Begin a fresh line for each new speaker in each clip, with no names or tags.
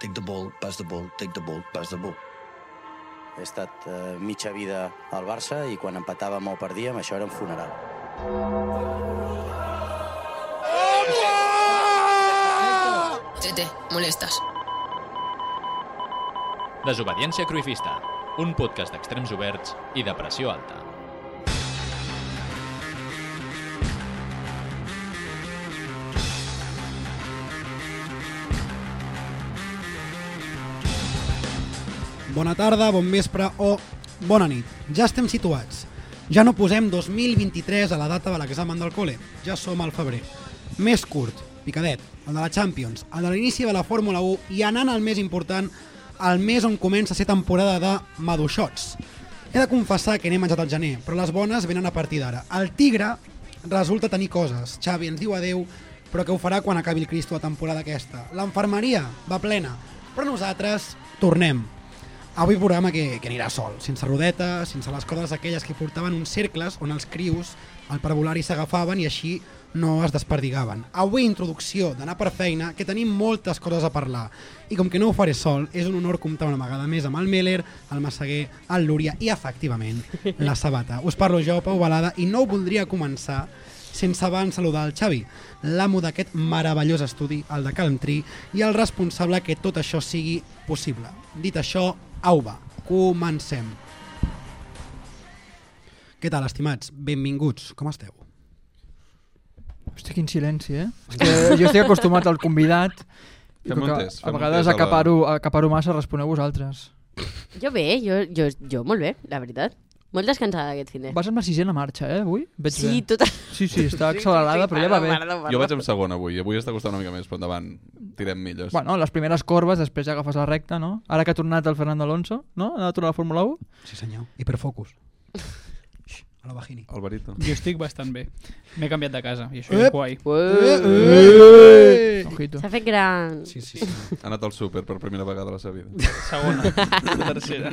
take the ball, pass the ball, take the ball, pass the ball.
He estat eh, mitja vida al Barça i quan empatàvem o perdíem, això era un funeral.
Tete, molestas.
Desobediència Cruifista, un podcast d'extrems oberts i de pressió alta.
Bona tarda, bon vespre o bona nit. Ja estem situats. Ja no posem 2023 a la data de l'examen del col·le. Ja som al febrer. Més curt, picadet, el de la Champions, el de l'inici de la Fórmula 1 i anant al més important, el mes on comença a ser temporada de maduixots. He de confessar que n'he menjat al gener, però les bones venen a partir d'ara. El tigre resulta tenir coses. Xavi ens diu adeu, però què ho farà quan acabi el Cristo la temporada aquesta? L'enfermeria va plena, però nosaltres tornem. Avui programa que, que anirà sol, sense rodetes, sense les cordes aquelles que portaven uns cercles on els crius al parvulari s'agafaven i així no es desperdigaven. Avui introducció d'anar per feina, que tenim moltes coses a parlar. I com que no ho faré sol, és un honor comptar una vegada més amb el Meller, el Massaguer, el Lúria i, efectivament, la Sabata. Us parlo jo, Pau Balada, i no voldria començar sense abans saludar el Xavi, l'amo d'aquest meravellós estudi, el de Calm Tree, i el responsable que tot això sigui possible. Dit això, au va, comencem. Què tal, estimats? Benvinguts. Com esteu?
Hosti, quin silenci, eh? És que jo estic acostumat al convidat. i
Fem
com que
un test,
a
fem un
vegades
test a la-
acaparo, acaparo massa, responeu vosaltres.
Jo bé, jo, jo, jo molt bé, la veritat. Molt descansada aquest cine.
Vas amb la sisena marxa, eh, avui? Veig
sí,
bé.
tot...
sí, sí, està accelerada, però ja va bé.
Jo vaig amb segon avui, avui està costant una mica més, però endavant tirem millors.
Bueno, les primeres corbes, després ja agafes la recta, no? Ara que ha tornat el Fernando Alonso, no? Ha tornat a la Fórmula 1.
Sí, senyor. Hiperfocus. Xx, a la vagini.
El barito.
Jo estic bastant bé. M'he canviat de casa i això
Ep.
és guai.
Ojito.
S'ha fet gran.
Sí, sí, sí.
Ha anat al súper per primera vegada a la seva vida.
Segona, tercera.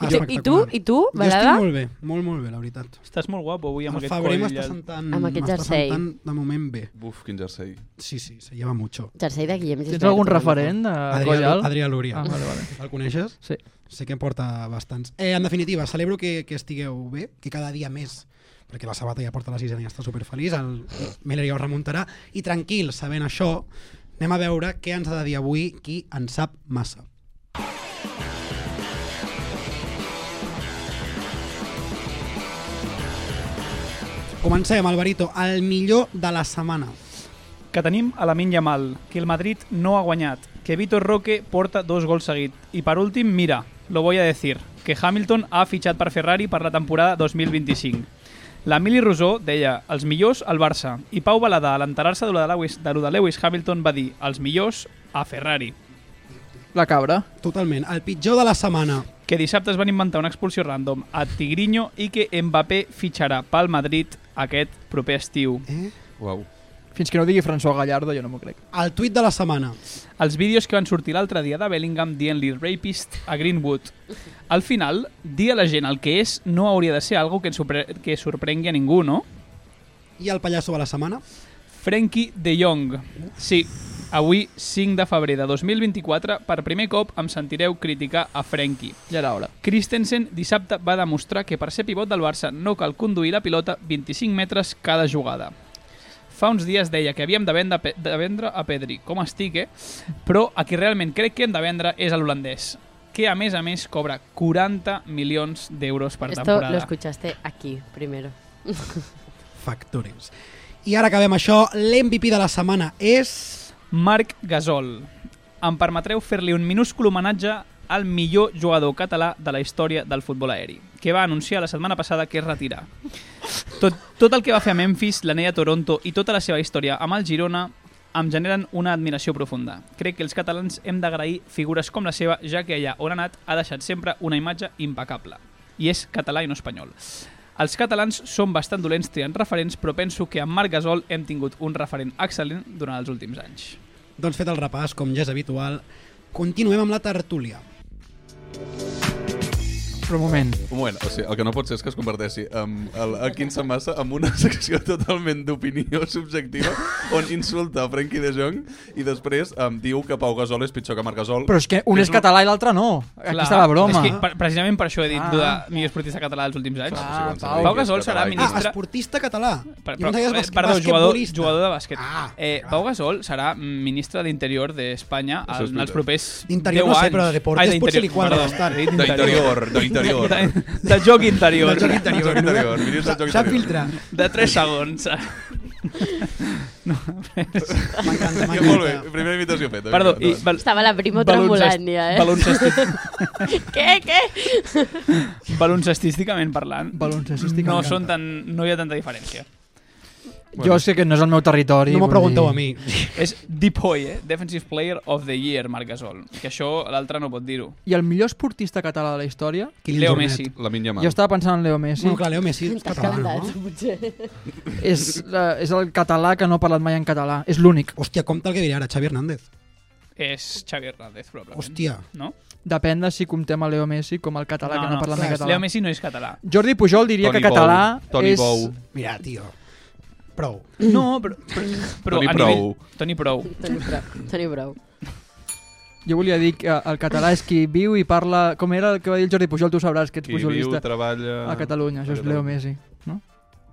I tu, I tu, i tu,
Ah, Jo estic
Balada?
molt bé, molt, molt bé, la veritat.
Estàs molt guapo avui amb
el
aquest
febrer
coll.
m'està
llarg.
sentant,
Amb aquest
m'està
jersei.
sentant de moment bé.
Buf, quin jersei.
Sí, sí, se lleva mucho.
Jersei de Guillem.
Tens
Gisbert,
algun
una mica.
referent de
Adrià,
Coyal?
Adrià Lúria.
Ah, vale, vale.
El coneixes?
Sí.
Sé que em porta bastants. Eh, en definitiva, celebro que, que estigueu bé, que cada dia més, perquè la sabata ja porta la sisena i està superfeliç, el Miller ja ho remuntarà, i tranquil, sabent això, anem a veure què ens ha de dir avui qui en sap massa. Comencem, Alvarito, el millor de la setmana.
Que tenim a la Minya Mal, que el Madrid no ha guanyat, que Vitor Roque porta dos gols seguit. I per últim, mira, lo voy a decir, que Hamilton ha fitxat per Ferrari per la temporada 2025. L'Emili Rosó deia, els millors al Barça. I Pau Balada, a l'enterar-se de lo de Lewis- de lo de Lewis Hamilton, va dir, els millors a Ferrari.
La cabra.
Totalment, el pitjor de la setmana.
que dissabte es van inventar una expulsió random a Tigrinho i que Mbappé fitxarà pel Madrid aquest proper estiu.
Eh?
Uau.
Fins que no digui François Gallardo, jo no m'ho crec.
El tuit de la setmana.
Els vídeos que van sortir l'altre dia de Bellingham dient-li rapist a Greenwood. Al final, dir a la gent el que és no hauria de ser algo que, sorpre que sorprengui a ningú, no?
I el pallasso de la setmana.
Frenkie de Jong. Sí, avui 5 de febrer de 2024, per primer cop em sentireu criticar a Frenkie.
Ja era hora.
Christensen dissabte va demostrar que per ser pivot del Barça no cal conduir la pilota 25 metres cada jugada. Fa uns dies deia que havíem de vendre, Pe- de vendre a Pedri, com estic, eh? Però a qui realment crec que hem de vendre és a l'holandès, que a més a més cobra 40 milions d'euros per
Esto lo
temporada.
escuchaste aquí, primero.
Factores. I ara acabem això. L'MVP de la setmana és...
Marc Gasol. Em permetreu fer-li un minúscul homenatge al millor jugador català de la història del futbol aeri, que va anunciar la setmana passada que es retira. Tot, tot el que va fer a Memphis, la Neia Toronto i tota la seva història amb el Girona em generen una admiració profunda. Crec que els catalans hem d'agrair figures com la seva, ja que allà on ha anat ha deixat sempre una imatge impecable. I és català i no espanyol. Els catalans són bastant dolents triant referents, però penso que amb Marc Gasol hem tingut un referent excel·lent durant els últims anys.
Doncs fet el repàs, com ja és habitual, continuem amb la tertúlia.
Però un moment.
Un moment, o sigui, el que no pot ser és que es converteixi amb el, el 15 massa en una secció totalment d'opinió subjectiva on insulta a Frenkie de Jong i després um, diu que Pau Gasol és pitjor que Marc Gasol.
Però és que un és català i l'altre no. Aquí està la broma.
És que, per, precisament per això he dit
Ah.
ah. de millor esportista català dels últims anys.
Clar. Ah,
Clar.
quan se
Pau.
digui
Pau
que és
Gasol serà
català i-
Ah,
ministre-
esportista català.
Per,
I em
però,
deies
eh,
basque-
perdó, jugador,
basquetbolista.
jugador de bàsquet.
Ah,
eh, Pau Gasol serà ministre d'Interior d'Espanya
Això és
en els
veritat.
propers 10
D'interior no sé,
anys.
però de deportes
Ai,
potser li quadra
perdó,
bastant.
he dit
D'interior, d'interior.
De, de joc interior.
Del joc
Joc
interior.
interior, mires el
Sap-
joc
Sap
interior.
filtrar.
De 3 segons.
M'encanta,
Que molt bé,
m'encanta.
primera imitació feta.
Perdó,
Vinga,
i
endavant.
val,
Estava la eh. primo
Baloncest-
tremolant ja, eh?
baloncesti-
Què, què?
baloncestísticament parlant,
Baloncestísticament
no, són tan, no hi ha tanta diferència.
Jo sé que no és el meu territori.
No m'ho
vull
pregunteu
dir-
a mi.
És Depoy, eh? Defensive Player of the Year, Marc Gasol. Que això l'altre no pot dir-ho.
I el millor esportista català de la història?
Kylian
Leo
Jornet.
Messi.
La minya mà.
Jo estava pensant en Leo Messi.
Bueno, clar, Leo Messi és
T'has
català,
calentat,
no?
potser.
És, eh, és el català que no ha parlat mai en català. És l'únic.
Hòstia, compta el que diré ara, Xavi Hernández.
És Xavi Hernández, probablement.
Hòstia.
No?
Depèn de si comptem a Leo Messi com el català no, que no, no parlat
clar,
mai català.
Leo Messi no és català.
Jordi Pujol diria
Toni
que català
Bou, Toni
és...
Bou.
Mira, tio. Prou.
No, però... però, però
Toni
a
Prou.
Nivell... Toni Prou.
Toni Brau. Toni Brau.
Jo volia dir que el català és qui viu i parla... Com era el que va dir el Jordi Pujol, tu ho sabràs, que ets
Qui viu,
pujolista.
treballa...
A Catalunya, això és Leo Messi. No?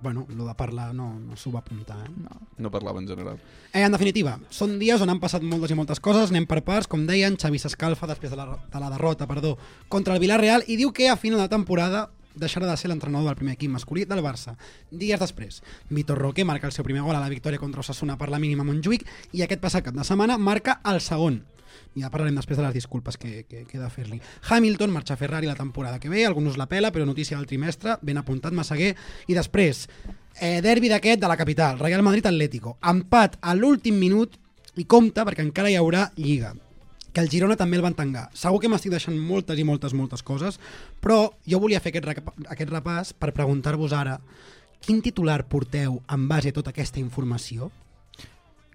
Bueno, lo de parlar no, no s'ho va apuntar, eh?
No parlava en general.
Eh, en definitiva, són dies on han passat moltes i moltes coses, anem per parts, com deien, Xavi s'escalfa després de la, de la derrota perdó, contra el Villarreal i diu que a final de temporada deixarà de ser l'entrenador del primer equip masculí del Barça. Dies després, Vitor Roque marca el seu primer gol a la victòria contra Osasuna per la mínima a Montjuïc i aquest passat cap de setmana marca el segon. Ja parlarem després de les disculpes que, que, que he de fer-li. Hamilton marxa a Ferrari la temporada que ve, alguns la pela, però notícia del trimestre, ben apuntat Massaguer. I després, eh, derbi d'aquest de la capital, Real Madrid-Atlético. Empat a l'últim minut i compta perquè encara hi haurà Lliga que el Girona també el van tangar. Segur que m'estic deixant moltes i moltes, moltes coses, però jo volia fer aquest, recap aquest repàs per preguntar-vos ara quin titular porteu en base a tota aquesta informació?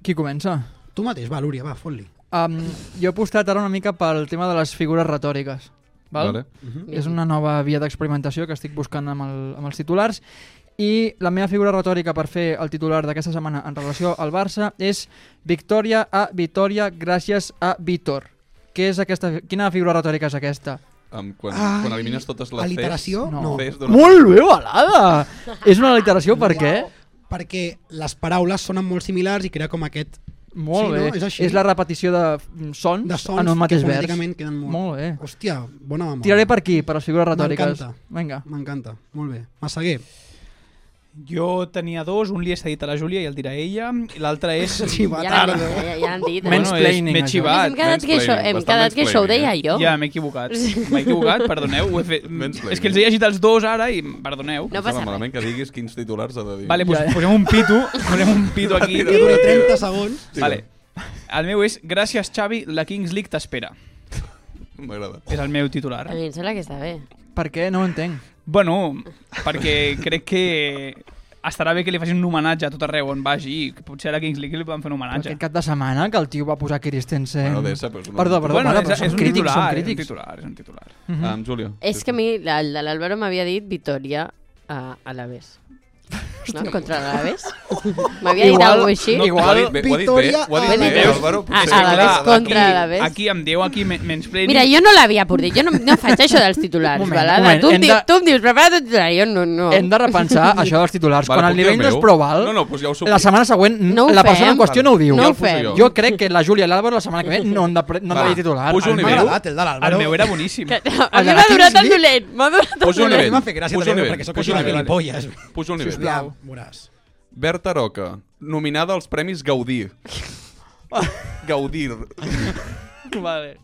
Qui comença?
Tu mateix, va, Lúria, va, fot-li.
Um, jo he apostat ara una mica pel tema de les figures retòriques. Val?
Vale.
Mm-hmm.
És una nova via d'experimentació que estic buscant amb, el, amb els titulars i la meva figura retòrica per fer el titular d'aquesta setmana en relació al Barça és Victòria a Vitòria gràcies a Vitor. Què és aquesta, quina figura retòrica és aquesta?
Amb, quan,
Ai,
quan elimines totes les
Aliteració?
No.
No.
Fes d'una-
Molt bé, balada! És una literació, per què?
perquè les paraules sonen molt similars i crea com aquest Sí,
Molt
no?
bé.
És així.
és la repetició de mm, sons,
de sons
en un mateix
que
vers.
fonèticament queden molt...
Molt bé.
Hòstia, bona memòria.
Tiraré per aquí, per les figures retòriques.
M'encanta.
Vinga.
M'encanta, molt bé. Massaguer,
Jo tenia dos, un li he cedit a la Júlia i el dirà ella, i l'altre és...
sí, va
Ja l'han
tard.
dit, ja, ja l'han dit. Eh?
Bueno, és-
Mansplaining,
M'he
això.
Hem
xivat.
quedat que això, hem
mansplaining,
quedat que això ho
bastant
deia jo.
Ja, m'he equivocat. M'he equivocat, perdoneu. Ho he fet...
Mansplaining.
És que els he llegit els dos ara i perdoneu.
No passa
Sembla
res.
malament que diguis quins titulars ha de dir.
Vale, pues,
Ja, ja.
posem un pito, posem un pito aquí.
Jo duré 30 segons.
Tira.
Vale. El meu és Gràcies Xavi, la Kings League t'espera.
M'agrada.
És el meu titular.
A mi em sembla que està bé.
Per què? No ho entenc.
Bueno, perquè crec que estarà bé que li facin un homenatge a tot arreu on vagi. i Potser a la Kings League li van fer un
Però
homenatge.
Aquest cap de setmana que el tio va posar Christensen...
Bueno, de esa, però és una-
Perdó, perdó,
bueno,
mare,
és,
però
és
són
un
crítics,
titular,
són
eh, és un
crítics.
titular, és un titular.
Mhm.
Ah, amb Júlia.
És que a mi la- el de l'Àlvaro m'havia dit Victòria a, a l'Aves. No? Contra l'Aves? M'havia dit
Igual-
alguna cosa així?
No, ho ha dit bé, ho ha dit bé,
Victòria
ho ha dit
a
bé,
l'Alavés.
Álvaro,
Ah,
potser
a l'Alavés
clar,
Clar,
contra
aquí-
l'Alavés.
Aquí em diu, aquí men- mansplaining.
Mira, jo no l'havia portat, jo no, no faig això dels titulars,
Un moment, un
balada.
moment,
Tu em,
hem
dius,
de-
tu em dius, prepara't el titular, jo no, no.
Hem de repensar això dels titulars.
Vale,
Quan
puc
el
dir
nivell no és
meu?
prou alt,
No, no, doncs ja ho
la setmana següent
No ho
la persona
fem.
en qüestió no ho diu.
No ho
el poso
fem.
jo.
Jo crec que la Júlia i l'Àlvaro la setmana que ve no han de, pre- no han
Va,
de dir titular.
pujo un
M'ha
nivell.
agradat el de
El
l'Àlvaro.
meu era boníssim.
A
El
mi
de la
m'ha durat
Kings
el
League?
dolent, m'ha durat el
Posa un
dolent.
nivell.
Em va fer gràcia
Puja
també,
un nivell,
perquè sóc
puja un
una
nivell.
gilipolles.
Puja un nivell.
Sisplau, veuràs.
Berta Roca, nominada als Premis Gaudí. Gaudir.
Vale.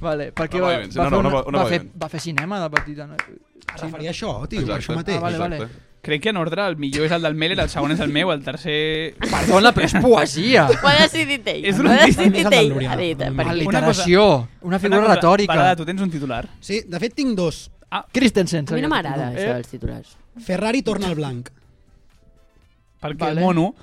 Vale, perquè
Una
va,
Vivens,
va,
una-
fer una,
una- una
va, fer,
Vivens.
va fer cinema de petita. No?
Es referia a això, tio, per això mateix.
Ah, vale, vale.
Exacte.
Crec que en ordre el millor és el del Meller, el segon és el meu, el tercer...
Perdona, però és poesia.
Ho ha decidit ell.
És
ho
un
ha
artista
decidit
més el del
ell.
Núria.
Ha dit,
Mm.
per aquí.
Aliteració, una figura
cosa-
retòrica.
Parada, tu tens un titular.
Sí, de fet tinc dos.
Christensen.
A mi
seria
no
el
m'agrada
titular.
això dels titulars.
Ferrari torna al blanc.
Perquè
Vale.
el mono...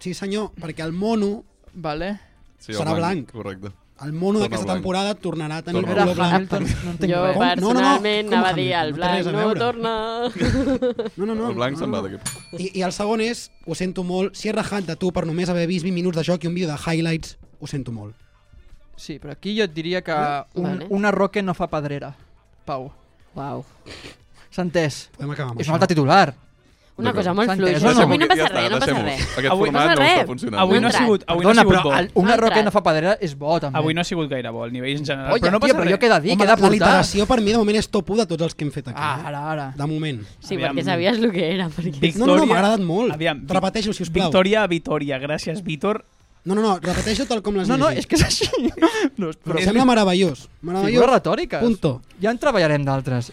Sí senyor, perquè el mono
Eh? Vale.
Sí, el
Serà blanc.
Correcte.
el mono
Torna
d'aquesta
blanc.
temporada tornarà a tenir
Torna
Era
color blanc.
Hamilton, no entenc
Jo
res.
va-
personalment
Com? No, no, no.
anava a
Com
dir el
Hamilton? No té
blanc
res a
no
veure.
torna.
No, no, no,
El blanc
no,
se'n
no.
va d'aquí.
I, I el segon és, ho sento molt, si he rajat de tu per només haver vist 20 minuts de joc i un vídeo de highlights, ho sento molt.
Sí, però aquí jo et diria que un,
Ah, vale.
una roca no fa pedrera, Pau.
Uau.
S'ha entès.
Podem acabar amb
És
això.
un altre titular.
Una
D'acord.
cosa molt
S'ha
fluixa.
entès, no?
Doncs Avui no
Ja
passa
està,
res, no passa
deixem-ho.
res.
Aquest
Avui-
format
Pues no
no
passa
està
res.
funcionant.
Avui no ha
entrat.
sigut, avui
Perdona,
no ha sigut
però
bo.
el- una
Ha
roca
entrat.
no fa pedrera és bo, també.
Avui no ha sigut gaire bo, el nivell en general.
Olla,
però
tio,
no passa
però
res.
jo què he de dir?
Home,
Què he de
la
portar?
literació per mi de moment és top 1 de tots els que hem fet aquí.
Ah,
eh?
ara, ara.
De moment.
Sí,
Aviam.
perquè sabies el que era. Perquè...
Vic-
No, no, no,
Victòria-
m'ha agradat molt.
Aviam, Vic-
Repeteixo, si us plau.
Victòria a Vitoria, gràcies, Vítor.
No, no, no, repeteixo tal com les
No, no, és que és així. No,
Però
però
em sembla meravellós.
figures
Meravellós.
retòriques.
Punto.
Ja en treballarem d'altres.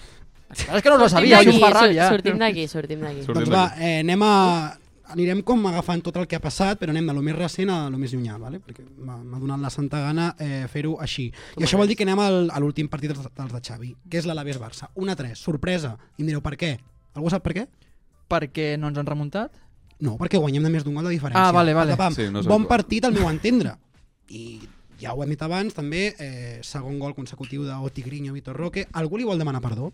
És que no us ho
Sortim
sabia, i
d'aquí,
us fa
sor-
ràbia.
sortim d'aquí, sortim d'aquí.
Sortim
Doncs va, eh, anem a... Anirem com agafant tot el que ha passat, però anem de lo més recent a lo més llunyà, ¿vale? perquè m'ha m'ha donat la santa gana eh, fer-ho així. I això vol dir que anem al, a l'últim partit dels, dels de Xavi, que és l'Alaves Barça. 1-3, sorpresa. I em direu per què? Algú sap per què?
Perquè no ens han remuntat?
No, perquè guanyem de més d'un gol de diferència.
Ah, vale, vale.
Patapam.
Sí, no és
bon
habitual.
partit, al meu entendre. I ja ho hem dit abans, també, eh, segon gol consecutiu d'Oti Grinyo, Vitor Roque. Algú li vol demanar perdó?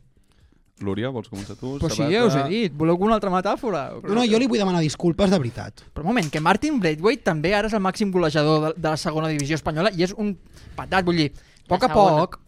Lúria, vols començar tu?
Però sí,
Sabata?
ja us he dit. Voleu alguna altra metàfora?
No, no, jo li vull demanar disculpes de veritat.
Però un moment, que Martin Braithwaite també ara és el màxim golejador de, de la segona divisió espanyola i és un patat, vull dir, a poc a
La segona.
poc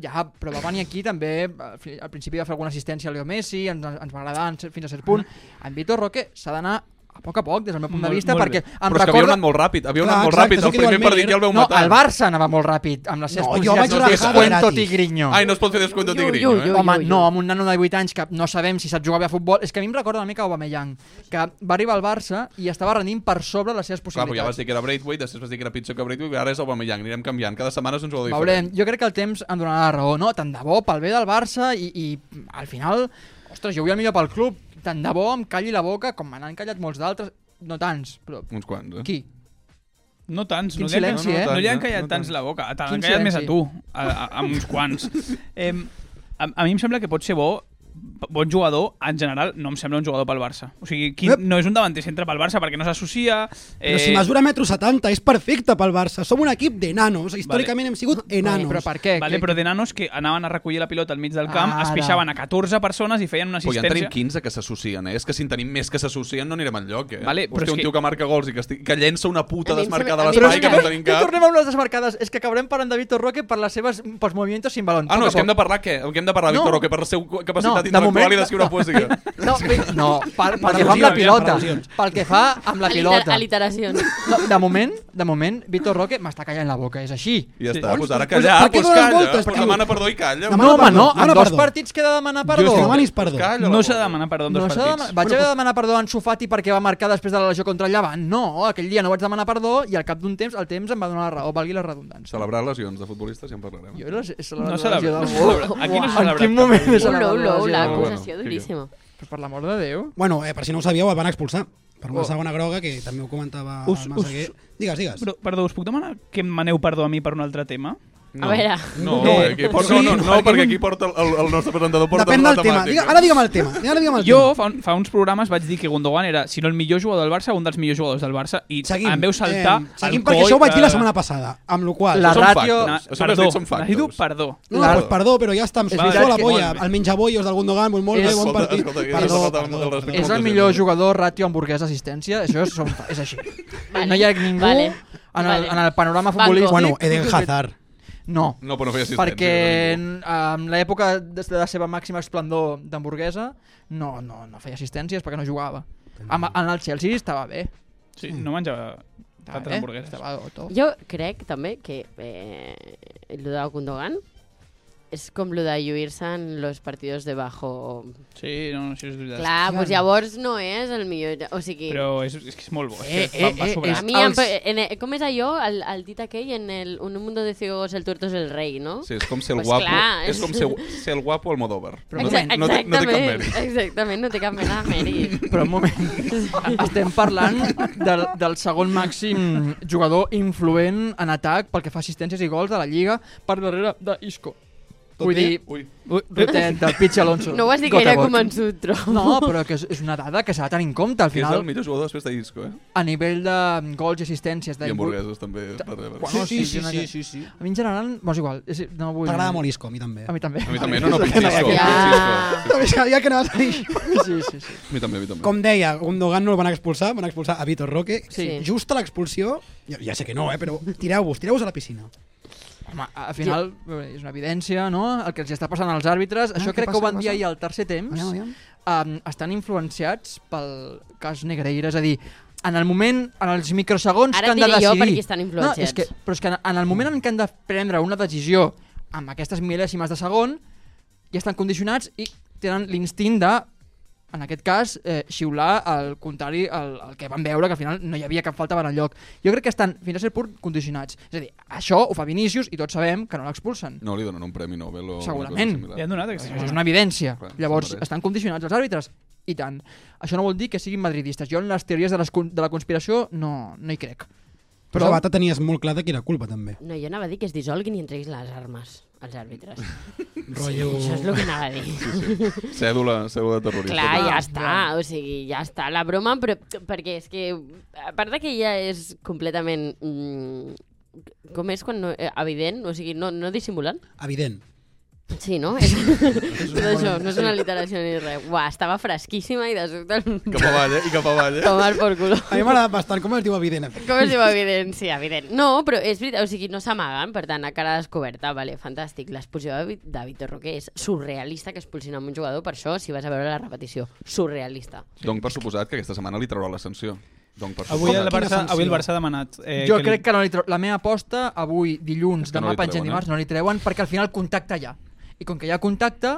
ja, però va venir aquí també al fi- al principi va fer alguna assistència a Leo Messi ens, ens va agradar en- fins a cert punt
Mm.
en Vitor Roque s'ha d'anar a poc a poc des del meu punt de
Molt-
vista
molt
perquè
bé.
em
Però és que havia
recorda...
anat molt ràpid, havia anat
Clar,
molt
exacte,
ràpid.
és el
El
que diu
primer
el
partit ja el veu
no,
matar.
el Barça anava molt ràpid amb les seves
No, jo
publicitats
vaig
no,
rajar
descuento
gratis.
tigrinyo
Ai, no es pot fer descompte
Ui, ui,
tigrinyo,
ui,
eh?
ui.
Home, no, amb un nano de 8 anys que no sabem si sap jugar bé a futbol. És que a mi em recorda una mica Aubameyang, que va arribar al Barça i estava rendint per sobre les seves
Clar, però ja vas
possibilitats.
dir que era Braithwaite, després vas dir que era pitjor que Braithwaite, i ara és el Aubameyang. Anirem canviant. Cada setmana és un jugador diferent.
Veurem, jo crec que el temps em donarà la raó, no? Tant de bo pel bé del Barça i, i al final, ostres, jo vull el millor pel club. Tant de bo em calli la boca com me n'han callat molts d'altres, no tants, però
Uns quants, eh?
qui?
No tants,
Quin
no, li han-
silenci,
no,
eh?
no li han
No
callat
tant.
tants la boca, te l'han
Quin
callat més a
silenci.
tu, a, a, a uns quants. eh, a, a mi em sembla que pot ser bo bon jugador, en general, no em sembla un jugador pel Barça. O sigui, qui,
Ep.
no és un davanter centre pel Barça perquè no s'associa...
Però
Eh,
si mesura metro 70 és perfecte pel Barça. Som un equip d'enanos. Històricament hem sigut enanos.
Però per què?
Vale,
Que-
però de nanos que anaven a recollir la pilota al mig del camp,
Ara.
es pixaven a 14 persones i feien una
Però ja en tenim
assistència...
15 que s'associen, eh? És que si en tenim més que s'associen no anirem enlloc, eh?
Vale, però
Hòstia,
és
un
que-
tio que marca gols i que, estic... que llença una puta
A mi em sembla-
desmarcada a
a mi em
l'espai que
sembla-
no
Ai,
tenim
que
cap.
tornem amb les desmarcades. És que acabarem parlant de Vitor Roque per les seves pels moviments sin balón.
Ah, no,
Poc a
és que hem de
poc.
parlar què? Que hem de parlar,
No.
Víctor, que per la seva capacitat
de
intel·lectual
moment-
i d'escriure poesia.
No, vi- no pel, pel que fa amb la
aviam, per
pilota.
al·lusions.
Pel que fa amb la
Aliter-
pilota.
Aliteracions.
No, de moment, de moment, Vitor Roque m'està callant la boca, és així.
I ja
Sí.
està, doncs ara
Doncs,
callar,
per què
doncs
dones
calla.
voltes,
però
tio?
demana perdó i calla.
Demana
No, home,
perdó,
no, en
demana
dos
perdó.
partits que he de demanar perdó.
Jo estic demanis perdó.
Calla la
No s'ha de
boca.
demanar perdó en
No
dos
s'ha de
partits.
demanar- Vaig haver de demanar perdó a Ansu Fati perquè va marcar després de la lesió contra el Llevant. No, aquell dia no vaig demanar perdó i al cap d'un temps el temps em va donar la raó, valgui la redundància.
Celebrar lesions de futbolistes ja en parlarem.
Jo les, és la
No
lesió
celebra.
del
No
gol.
celebra. Aquí no
Uau.
s'ha celebrat.
En quin moment és la
Ula, ula,
lesió?
ula,
Ah, bueno,
acusació
sí,
duríssima.
Però per l'amor de Déu.
Bueno, eh, per si no ho sabíeu, el van expulsar per una
Oh.
segona groga, que també ho comentava
Us-
us, Massaguer. Digues, digues.
Però, perdó, us puc demanar que em maneu perdó a mi per un altre tema?
A
No.
veure.
No,
No.
eh, aquí porta,
Sí,
no, no,
no,
no, perquè aquí porta el, el, el nostre presentador porta
Depèn
la
del tema.
temàtica.
Digue, ara digue'm el tema. Ara digue'm el
Jo
tema.
fa, un, fa uns programes vaig dir que Gundogan era, si no el millor jugador del Barça, un dels millors jugadors del Barça, i
Seguim.
em veu saltar...
Eh, seguim, perquè això ho vaig dir la setmana passada. Amb la
Ah,
qual
La
cosa.
ràtio-
Són factors. Això
passada.
que has
Perdó,
dit són
necessito
factors.
perdó.
No,
la-
la... pues, perdó, però ja està, em
veritat
sufició la
que-
boia,
molt bé.
el menjabollos del Gundogan, molt, molt
És-
bé, bon
Escolta,
partit.
escolta, que
perdó,
escolta el-
perdó,
el respecte.
perdó.
És el millor jugador ràtio hamburguesa assistència, això és, som, és així.
Vale.
No hi ha ningú
Vale.
en, el,
Vale.
en el panorama
Banco.
futbolístic.
Bueno, Eden Hazard.
No,
No, però no feia assistència.
perquè en, en l'època de de la seva màxima esplendor d'hamburguesa no, no, no feia assistències perquè no jugava. Amb, en el Chelsea estava bé.
Sí,
Mm.
no menjava
Estava
tantes
bé,
hamburgueses.
Estava a tope.
Jo crec també que eh, lo de Gundogan és com lo de lluir-se en los partidos de bajo.
Sí, no, no, això és veritat.
Clar, doncs llavors no és el millor. O sigui,
Però és, és que és molt bo.
Eh,
és que va,
eh,
va
eh,
sobrar.
a mi,
els-
em, en, en, com és allò, el, el dit aquell en el Un mundo de ciegos el tuerto es el rei, no?
Sí, és com ser el
Pues
guapo,
clar,
és com ser, ser el guapo al Modóvar. No,
Exac-
no, té, no té cap
exactament,
mèrit.
Exactament, no té cap mena de mèrit.
Però un moment, estem parlant del, del segon màxim jugador influent en atac pel que fa a assistències i gols de la Lliga per darrere d'Isco.
Tot
Vull
bé?
dir-
Ui.
Rutet del Pitch Alonso.
No ho has dit
Gota
gaire
a gota.
convençut, trobo.
No, però que és, és una dada que s'ha de tenir en compte. Al
Que és el
final,
millor jugador després de Isco, eh?
a nivell de mm, gols i assistències...
I
De...
hamburgueses també. Per rebre.
Quan- no, sí, sí, sí,
sí.
A mi en general, doncs igual, és, no vull...
T'agrada molt Isco, a mi també.
A mi també.
A mi també, no, no, pinta Isco.
Ja.
pinta Isco.
També sabia que anaves a dir això.
Sí, sí, sí.
A mi també, a mi també.
Com deia, Gundogan no el van expulsar, van expulsar a Vitor Roque.
Sí.
Just a l'expulsió, ja, ja sé que no, eh, però tireu-vos, tireu-vos a la piscina.
Home, al final eh, és una evidència, no?, el que els està passant als àrbitres.
Ah,
Això
què
crec
passa,
que ho van
què
dir
passa?
ahir al tercer temps.
Aviam, aviam.
um, estan influenciats pel cas Negreira, és a dir, en el moment, en els microsegons
Ara
que han de
et diré
decidir...
jo per què estan influenciats.
No, és que, però és que en- en el moment en què han de prendre una decisió amb aquestes mil·lèsimes de segon, ja estan condicionats i tenen l'instint de en aquest cas, eh, xiular al contrari al, al que van veure, que al final no hi havia cap falta per enlloc. Jo crec que estan, fins a cert punt, condicionats. És a dir, això ho fa Vinícius i tots sabem que no l'expulsen.
No li donen un premi Nobel o
Segurament.
Una cosa
Li han
similar.
donat aquesta
Això és
setmana.
una evidència.
Clar,
Llavors,
sembla res.
estan condicionats els àrbitres? I tant. Això no vol dir que siguin madridistes. Jo en les teories de, les, con- de la conspiració no, no hi crec.
Però
Però-
Sabata tenies molt clar de qui era culpa, també.
No, jo anava a dir que es dissolguin i en treguis les armes als àrbitres.
Rotllo...
Això és el que anava a dir.
Cèdula, cèdula terrorista.
Clar, ja està, o sigui, ja està la broma, però perquè és que, a part de que ja és completament... Mm, com és quan no, eh, evident, o sigui, no, no dissimulant.
Evident.
Sí, no? És, tot això, no és una literació ni res. Uah, estava fresquíssima i de sobte...
Cap avall, eh? I cap avall, eh?
Tomar por culo.
A mi m'agrada bastant com es diu evident.
Com es diu evident? Sí, evident. No, però és veritat, o sigui, no s'amaguen, per tant, a cara descoberta, vale, fantàstic. L'expulsió de Vi- de Vitor Roque és surrealista que expulsin a un jugador, per això, si vas a veure la repetició, surrealista.
Doncs per suposat que aquesta setmana li traurà l'ascensió. Doncs per
Avui el,
suposat.
Barça,
sanció?
avui el Barça ha demanat... Eh,
jo
li-
crec que no li treu... La meva aposta, avui, dilluns,
És que no
demà
li
no pengem
treuen, eh?
dimarts, no li treuen, perquè al final contacte hi ha. I com que hi ha contacte,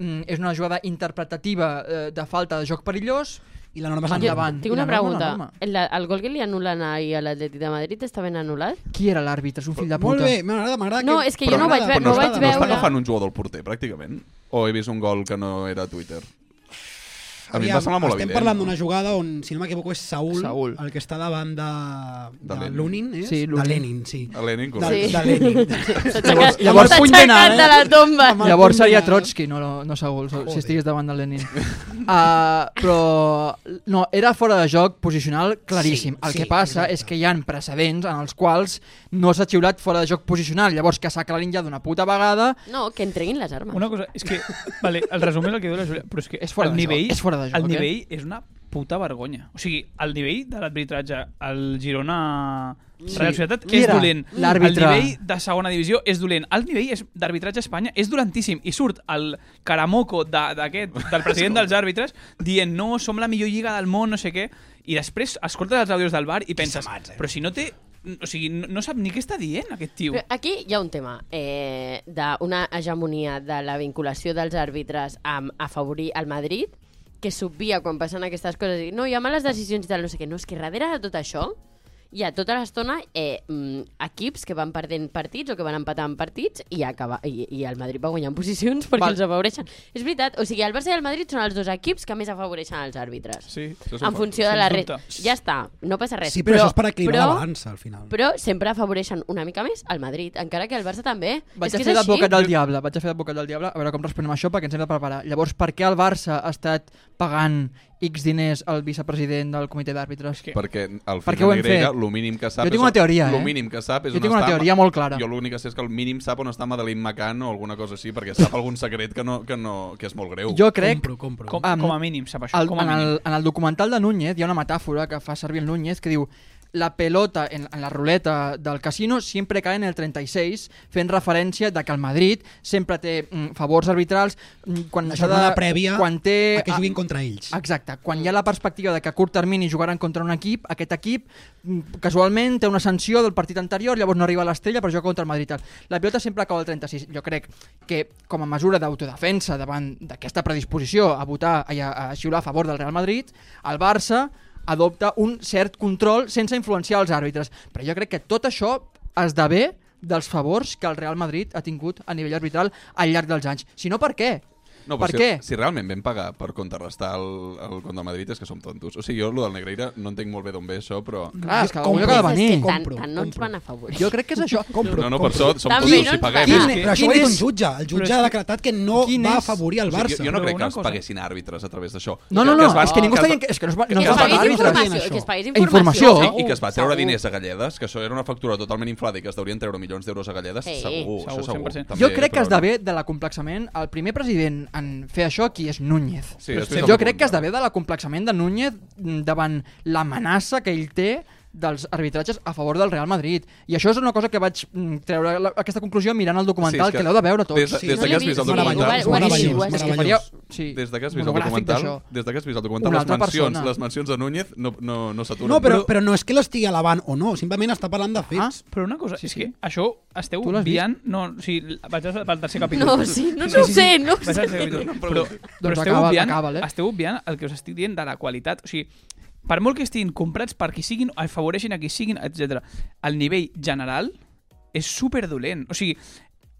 mm, és una jugada interpretativa eh, de falta de joc perillós,
I la norma és
Jo-
endavant.
Tinc una
I la norma,
pregunta.
la norma.
El, el gol que li anulen ahir a l'Atlètic de Madrid està ben anul·lat?
qui era l'àrbitre? És un fill de puta.
Molt bé, m'agrada, m'agrada.
No, és que jo no ho vaig veure,
m'agrada,
Però
no ho
no, està,
vaig
no està
veure.
agafant un jugador del porter, pràcticament? O he vist un gol que no era a Twitter? A mi em va
Aviam,
semblar molt
Estem
evident.
parlant d'una jugada on, si no m'equivoco, és Saúl,
Saúl.
el que està davant de,
De
de,
Lenin.
Lunin, és?
Sí,
de
Lunin.
Lenin, sí.
A Lenin,
De,
correcte.
Sí.
de Lenin.
Llavors-
S'ha
llavors puny
aixecat
penal, eh?
de la tomba.
Amb el
Llavors
punt
seria
de-
Trotsky, no, no, no Saúl, so-
Joder.
si estigués davant de Lenin. Uh, però no, era fora de joc posicional claríssim.
Sí,
El
sí,
que passa
exacte.
és que hi han precedents en els quals no s'ha xiulat fora de joc posicional. Llavors que s'aclarin ja d'una puta vegada
No, que entreguin les armes.
Una cosa, és que, vale, el resum és el que diu la Júlia, però és que
És fora
el
de joc,
nivell,
és fora de joc,
el
eh?
nivell és una puta vergonya. O sigui, el nivell de l'arbitratge al Girona Real Societat
Qui
és
era
dolent. El
l'àrbitre?
nivell de segona divisió és dolent. El nivell és- d'arbitratge a Espanya és dolentíssim. I surt el caramoco de- d'aquest, del president dels àrbitres, dient no, som la millor lliga del món, no sé què. I després escoltes els àudios del bar i penses,
samats, eh?
però si no té... O sigui, no, no sap ni què està dient aquest tio.
Però aquí hi ha un tema eh, d'una hegemonia de la vinculació dels àrbitres amb afavorir el Madrid que s'obvia quan passen aquestes coses i no, hi ha males decisions i tal, no sé què. No, és que darrere de tot això hi ha tota l'estona eh, mm, equips que van perdent partits o que van empatant partits i, acaba, i, i el Madrid va guanyant posicions perquè
Val.
els afavoreixen. És veritat, o sigui, el Barça i el Madrid són els dos equips que més afavoreixen els àrbitres.
Sí.
Això és un
en
fet.
funció de
sens
la
dubte.
resta. Ja està, no passa res.
Sí, però, això és per equilibrar
però-
la balança, al final.
però sempre afavoreixen una mica més al Madrid, encara que el Barça també.
vaig
és
a
que és
fer
així.
d'advocat del diable, vaig a fer d'advocat del diable, a veure com responem a això perquè ens hem de preparar. Llavors, per què el Barça ha estat pagant X diners al vicepresident del comitè d'àrbitres?
que-
Perquè el
Per què
Ferran
ho hem
Negreira,
fet?
el mínim que sap...
Jo tinc
és-
una teoria, eh?
El mínim que sap és
Jo
on
tinc una
està-
teoria molt clara.
Jo l'únic que sé és que el mínim sap on està Madeleine McCann o alguna cosa així, perquè sap algun secret que, no, que, no, que és molt greu.
Jo crec
Compro, compro.
Com,
Am-
com a mínim sap això.
El,
com a
en,
mínim.
el, en el documental de Núñez hi ha una metàfora que fa servir el Núñez que diu la pelota en, en la ruleta del casino sempre cae en el 36 fent referència de que el Madrid sempre té mm, favors arbitrals mm, quan
La
s'ha de-
jornada prèvia
quan té,
a que juguin contra ells.
Exacte, quan hi ha la perspectiva de que a curt termini jugaran contra un equip, aquest equip mm, casualment té una sanció del partit anterior, llavors no arriba a l'estrella però juga contra el Madrid. tal. La pilota sempre acaba al 36. Jo crec que com a mesura d'autodefensa davant d'aquesta predisposició a votar i a, a xiular a favor del Real Madrid, el Barça adopta un cert control sense influenciar els àrbitres. Però jo crec que tot això esdevé dels favors que el Real Madrid ha tingut a nivell arbitral al llarg dels anys. Si no, per què?
No,
per
però si,
què?
Si realment vam pagar per contrarrestar el, el compte de Madrid és que som tontos. O sigui, jo el del Negreira no entenc molt bé d'on ve això, però...
Clar, és que
Com
algú hi ha de
penses
venir.
És que tant,
Compro,
tant no ens
compro.
van afavorir.
Jo crec que és això.
Compro,
No, no, per això som
També
tontos
no
si
ens
paguem.
pagarà.
És
Quin,
que-
però això ho
Quin
ha dit un
és-
jutge. El jutge
però és-
ha decretat que no
Quin
va
és-
afavorir el
O sigui,
Barça.
jo, jo no
Però
crec
una
que els
cosa-
paguessin àrbitres a través d'això.
No, no,
Que
no,
es va-
és que ningú
es
està
va-
dient que, és que no es va, no
que,
ens
es
va pagar
pagués
paguis
àrbitres.
dient
informació,
això.
que es pagués
Eh,
informació.
informació. Segur,
I, I que es va
oh.
treure diners a Galledes, que això era una factura totalment inflada i que es deurien treure milions d'euros a Galledes,
Sí.
segur, això
Segur,
segur.
100%.
Jo crec que
però
esdevé de l'acomplexament, el primer president en fer això aquí és Núñez.
Sí, després
jo
el
crec que
apunta.
esdevé de l'acomplexament de Núñez mm, davant l'amenaça que ell té dels arbitratges a favor del Real Madrid. I això és una cosa que vaig mm, treure la, aquesta conclusió mirant el documental,
és
que, que l'heu de veure tots.
Des, de-
Sí,
des
no
de que
l'he
has vist el
vist,
documental...
meravellós, meravellós,
És que
meravellós.
faria- sí,
Des de que has vist el
monogràfic
documental,
d'això.
des de que has vist el documental
Una
les
altra
mencions,
persona.
les mencions de Núñez no, no, no s'aturen.
No, però, però no és que l'estigui alabant o no, simplement està parlant de fets.
Ah, Però una cosa, sí, és
sí.
que això esteu
Tu l'has vist?
viant... No, o sigui, vaig al- pel tercer capítol.
No, sí, no, no ho sé, no ho
Vaig al
sé.
tercer capítol. Però, però
Doncs
esteu,
acaba-
obviant,
acaba, eh?
esteu obviant el que us estic dient de la qualitat. O sigui, per molt que estiguin comprats per qui siguin, afavoreixin a qui siguin, etc. El nivell general és super dolent. O sigui,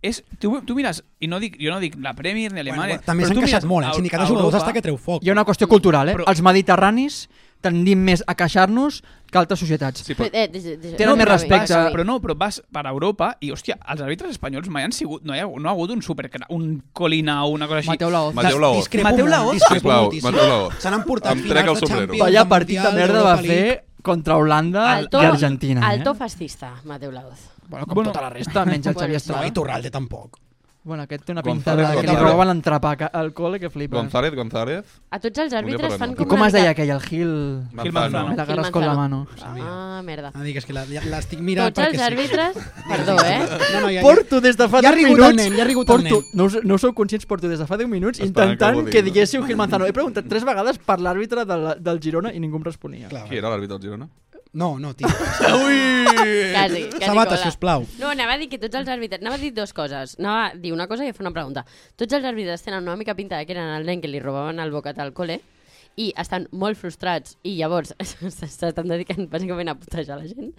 és, tu, tu mires, i no dic, jo no dic la Premier ni Alemanya...
Bueno, també
però
s'han
tu
queixat
mires
molt, eh?
a-
El sindicat
a
de jugadors
Europa-
està que treu foc.
Hi ha una qüestió cultural, eh?
Però-
Els mediterranis tendim més a queixar-nos que altres societats.
Sí, però,
Eh, des- des- des-
Tenen
no,
més
però
respecte.
bé, sí.
Però no, però vas per Europa i, hòstia, els àrbitres espanyols mai han sigut... No, hi ha, no ha hagut un super... un Colina o una cosa així.
Mateu Laoz.
Mateu Laoz.
Discrepo
Mateu
molt,
Laoz.
discrepo
Sisplau,
moltíssim.
Mateu Laoz.
S'han emportat
Em trec
finals
el
de
sombrero.
Champions,
Vaya
de
partit de
Mundial,
merda va
d'Europa League.
fer contra Holanda
Alto,
i Argentina.
Alto
eh?
fascista, Mateu Laoz.
Bueno, com
Bueno.
tota la resta, menys el Xavi
Bueno,
No, i
Estrada.
Torralde tampoc.
Bueno, aquest té una
González,
pinta de que li
González.
robaven l'entrepà ca- al col·le que flipes.
González, González...
A tots els àrbitres
parlar
fan
molt.
I
com...
com
una
es deia
mica-
aquell, el Gil...
Manzano.
Gil Manzano.
Me la agarras con la mano.
Ah, merda.
No digues que la- ja- l'estic mirant
Tots els
perquè sí.
àrbitres... Perdó, eh?
No, no, ja, ja,
Porto des de fa
Ja ha
10
rigut
minuts...
el nen, ja ha rigut el
porto,
nen.
no, us, no us sou conscients, porto des de fa 10 minuts
Esperant que
intentant
algú
que
digui.
diguéssiu Gil Manzano. He preguntat tres vegades per l'àrbitre de la- del Girona i ningú em responia.
clar.
Qui era l'àrbitre del Girona?
No, no, tio.
Quasi, quasi
Sabata,
cola.
sisplau.
No, anava a dir que tots els àrbitres... Anava a dir dues coses. Anava a dir una cosa i a fer una pregunta. Tots els àrbitres tenen una mica pinta de que eren el nen que li robaven el bocat al col·le i estan molt frustrats i llavors s'estan dedicant bàsicament a putejar la gent.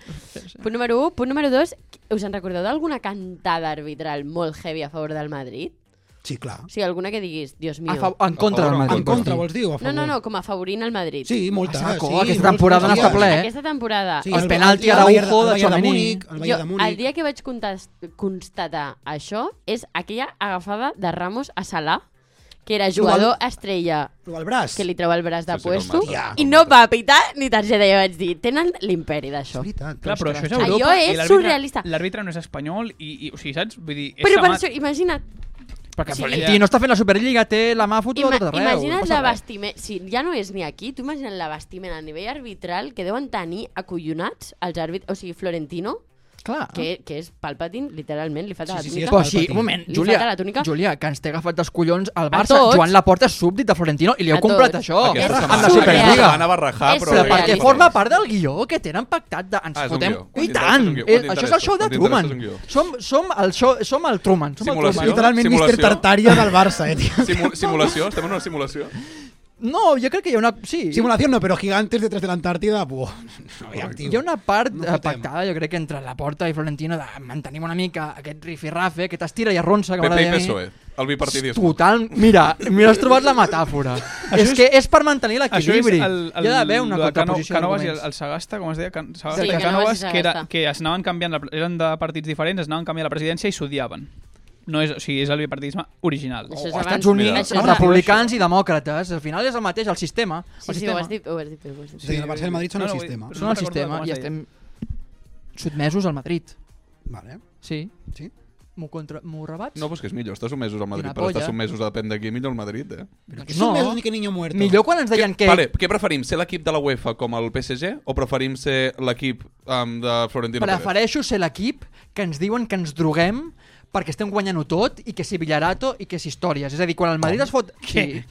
Punt número 1. Punt número 2. Us en recordeu d'alguna cantada arbitral molt heavy a favor del Madrid?
Sí, clar.
O sigui, alguna que diguis, Dios mío.
A fa, en contra
favor o
del
en
Madrid.
En contra, vols dir, o a favor?
No, no, no, com a favorint el Madrid.
Sí, molta.
A saco,
sí,
aquesta
molta.
temporada n'està
Sí,
ple, eh?
Aquesta temporada.
Sí,
Els
el-
penalti
el
Araujo
Bayern- el
de
Bayern
Tchouaméni.
Múnich, El
Jo,
Bayern de
el
Múnich.
dia que vaig contest- constatar això és aquella agafada de Ramos a Salah, que era jugador estrella
Però el braç.
que li treu el braç de
Sí, sí,
puesto
com mata,
i
com
no
mata.
va pitar ni targeta, jo vaig dir. Tenen l'imperi d'això.
És veritat.
Clar, però això és
Allò
Europa.
és
i l'àrbitre-
surrealista.
L'àrbitre no és espanyol i, i o sigui, saps? Vull dir, és
Però per
amat-
això, imagina't,
Perquè
Sí,
Florentino
ja.
està fent la Superliga, té la mà fotuda
ima
a tot arreu.
imagina't
no
la
passa res.
vestimenta, si ja no és ni aquí, tu imagina't la vestimenta a nivell arbitral que deuen tenir acollonats els àrbitres, o sigui, Florentino,
Clar.
que, que és Palpatine, literalment, li falta
Ah.
la
Sí, sí, sí,
túnica.
Però
Però
sí,
Palpatine.
un moment,
Li
Júlia,
falta la túnica.
Júlia, que ens té agafat dels collons al
A
Barça.
tots.
Joan Laporta és súbdit de Florentino i li heu
A
comprat
tots.
això
Aquesta
amb
setmana-
la
Aquesta
Superliga.
setmana va rajar,
És
però...
Però
Real.
perquè
Real.
forma part del guió que tenen pactat de ens
Ah, és un
fotem...
guió. Quan
I tant!
t'interessa és un guió.
Eh,
Quan
això és el
t'interessa,
show de
quan t'interessa
Truman.
és un guió.
Som, som, el show, som el Truman. Som el
Simulació.
Truman.
Literalment
Simulació.
Mr. Tartària del Barça, eh, tio.
Simu simulació? Estem en una simulació?
No, jo crec que hi ha una... Sí,
Simulación no, pero gigantes detrás de la Antártida, buah. No, ja, tio.
hi ha una part
No
eh,
fotem.
pactada, jo crec, que entre la porta i Florentino de mantenim una mica aquest rifirrafe, aquest estira i arronsa que
PP i eh?
m'agrada a mi.
PSOE. E. El bipartidisme.
Total, mira, mira, has trobat la metàfora. és,
és-
que és per mantenir
Això és
l'equilibri.
el, el,
Hi ha d'haver una
lo de Cano-
contraposició
Canovas i el,
d'arguments.
el Sagasta, com es deia? Can, Sagasta,
Sí,
i
Canovas i
Canovas, que, era,
Sagasta.
que es anaven canviant, la, eren de partits diferents, es anaven canviant la presidència i s'odiaven. No és, o sigui, és el bipartidisme original.
Això és
O
abans-
als Estats Units,
Això
els
és
ara-
republicans i demòcrates, al final és el mateix, el sistema. El
Sí, sí, ho
sistema.
has dit, ho has dit, bé, ho has dit.
Sí, el Barça i el Madrid són
No,
el
no, vull-
sistema.
però-
Són
No
el
recordo
sistema
com
i
es
estem sotmesos al Madrid.
Vale.
Sí.
Sí.
M'ho contra... M'ho rebats?
No, però és que és millor. Estàs submesos al Madrid,
Una
però
polla.
estàs submesos, depèn d'aquí, millor al Madrid, eh?
Doncs
Que
no.
no. més ni que niño muerto.
Millor quan ens deien que...
Vale, què preferim, ser l'equip de la UEFA com el PSG o preferim ser l'equip um, de Florentino Pérez?
Prefereixo ser l'equip que ens diuen que ens droguem perquè estem guanyant-ho tot i que si Villarato i que si històries. És a dir, quan el Madrid es fot... Sí.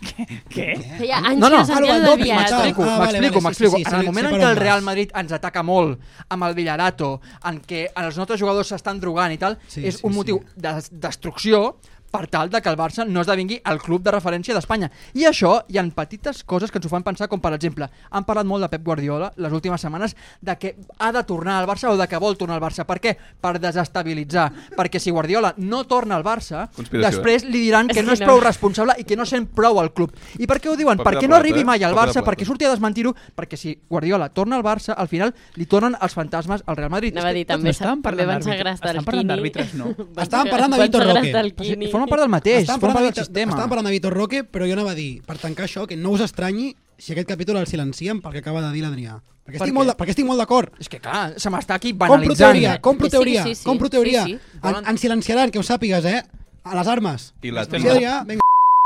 Què?
Feia anys
No,
que Ah,
no,
no sentia
Alba,
de
doping,
Villarato.
macho.
M'explico,
Ah, vale,
m'explico,
vale,
m'explico.
sí, sí, sí,
En el
sé
moment
per
en
on
què el
vas.
Real Madrid ens ataca molt amb el Villarato, en què els nostres jugadors s'estan drogant i tal,
Sí,
és
sí,
un
sí.
motiu de destrucció, per tal de que el Barça no esdevingui el club de referència d'Espanya. I això hi han petites coses que ens ho fan pensar, com per exemple, han parlat molt de Pep Guardiola les últimes setmanes de que ha de tornar al Barça o de que vol tornar al Barça. Per què? Per desestabilitzar. Perquè si Guardiola no torna al Barça,
Conspiració,
després li diran que
És
no
que
és
no.
prou responsable i que no sent prou al club. I per què ho diuen?
Paper de
Perquè no
plata,
arribi
eh?
mai al
Paper de
Barça,
plata.
perquè surti a desmentir-ho, perquè si Guardiola torna al Barça, al final li tornen els fantasmes al Real Madrid.
Anava a dir, també, s'ha-
estàvem parlant
també van
d'àrbitre-
sagrar
estàvem parlant d'àrbitres, no.
Van
Estàvem
sagrar-
parlant de
van
Vitor
sagrar
Roque.
del
O sigui,
Quini.
forma part del mateix,
Estàvem
forma
parlant, de
part del
Vitor-
sistema.
estàvem parlant de Vitor Roque, però jo anava a dir, per tancar això, que no us estranyi si aquest capítol el silenciem pel que acaba de dir l'Adrià. Perquè,
Per
estic
què?
molt de- perquè estic molt d'acord.
És que clar, se m'està aquí
Compro
banalitzant.
teoria, compro
Sí, sí,
teoria,
sí, sí.
compro teoria.
Sí, sí.
En, en silenciaran, que ho sàpigues, eh? A les armes.
I la
Sí,
Timo.
Adrià, vinga.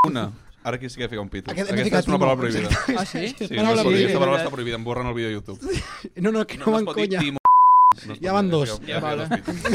Una. Ara aquí sí que he ficat un pito.
Aquest-
Aquest,
hem ficat
Aquesta és
Timo.
una paraula prohibida.
Ah, sí?
Sí,
Paraula
no es pot dir,
prohibida.
aquesta paraula està prohibida, em borren el vídeo de YouTube.
No, no, que no,
No
no
es pot dir
m'enconya.
Timo. No es
Ja
pot
van
dir,
dos.
ja- ja
Vale.
dos pitos.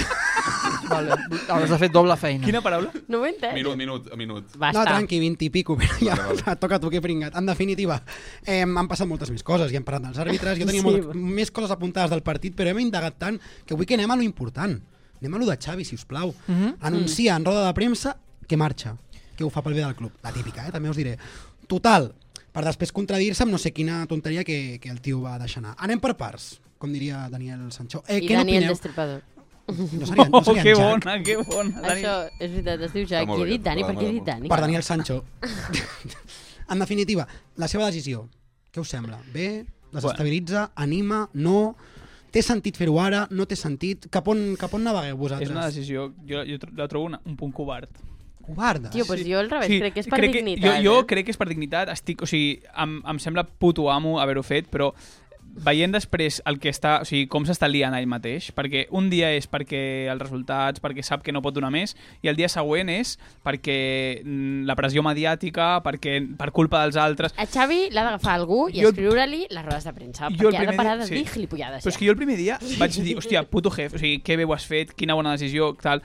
Vale. Hauràs de fer doble feina.
Quina paraula?
No ho he entès.
Minut, minut, minut.
Basta.
No, tranqui, 20 i pico, però ja
Vale,
vale. toca tu que he pringat. En definitiva, eh, han passat moltes més coses i hem parlat dels àrbitres. Jo tenia
Sí.
sí. molt, més coses apuntades del partit, però hem indagat tant que avui que anem a lo important. Anem a lo de Xavi, si us plau. Mm
Mhm.
-hmm. Anuncia en roda de premsa que marxa, que ho fa pel bé del club. La típica, eh? també us diré. Total, per després contradir-se amb no sé quina tonteria que, que el tio va deixar anar. Anem per parts, com diria Daniel Sancho. Eh,
I
què
Dani el
n'opineu?
Destripador.
No seria, no
Oh,
seria en
que
Jack.
Oh, bona, que bona. Dani.
Això és veritat, es diu
Està
Jack.
molt
Qui he
bé,
dit Dani? Per què
programa
he
de
dit
bo.
Dani?
Per Daniel Sancho. en definitiva, la seva decisió, què us sembla? Bé? Desestabilitza? Anima? No? Té sentit fer-ho ara? No té sentit? Cap on, cap on navegueu vosaltres?
És una decisió, jo, jo tro- la trobo una, un punt covard.
Covardes.
Tio, pues jo al revés, crec que és per dignitat.
Jo, jo
eh?
crec que és per dignitat, estic, o sigui, em, em sembla puto amo haver-ho fet, però veient després el que està, o sigui, com s'està liant ell mateix, perquè un dia és perquè els resultats, perquè sap que no pot donar més, i el dia següent és perquè mm, la pressió mediàtica, perquè per culpa dels altres.
A Xavi l'ha d'agafar algú i
Jo-
escriure-li les rodes de premsa,
Jo el
Ah, perquè ha de
primer
parar
dia-
de
sí.
dir gilipollades.
Però és que jo el primer dia vaig dir, hòstia, puto jef, o sigui, què bé ho has fet, quina bona decisió, tal.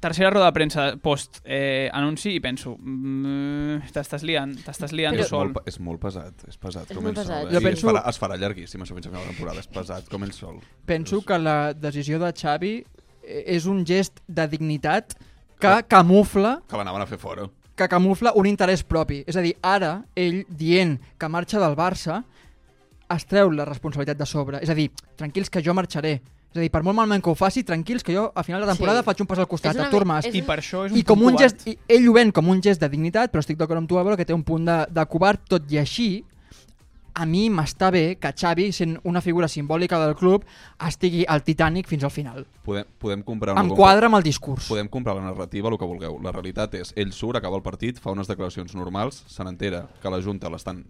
Tercera roda de premsa post eh, anunci i penso, mm, t'estàs liant, t'estàs liant
Però-
tu
És
sol.
molt, pe- és molt pesat, és pesat
És
com
molt
ell
pesat.
Jo
sol. Eh? I es,
penso-
farà, es farà llarguíssim això fins a final de temporada, és pesat com ell sol.
Penso que la decisió de Xavi e- és un gest de dignitat que camufla
Que l'anaven a fer fora.
que camufla un interès propi. És a dir, ara ell dient que marxa del Barça es treu la responsabilitat de sobre. És a dir, tranquils que jo marxaré. És a dir, per molt malment que ho faci, tranquils que jo a final de temporada
Sí.
faig un pas al costat,
És una
Artur
mi-
Mas.
és
I per això és un
I com
punt
un
covard.
gest, i ell ho ven com un gest de dignitat, però estic d'acord amb tu, Álvaro, que té un punt de, de covard, tot i així, a mi m'està bé que Xavi, sent una figura simbòlica del club, estigui al Titanic fins al final.
Podem, podem comprar...
Em quadra amb el discurs.
Podem comprar la narrativa, el que vulgueu. La realitat és, ell surt, acaba el partit, fa unes declaracions normals, se n'entera que la Junta l'estan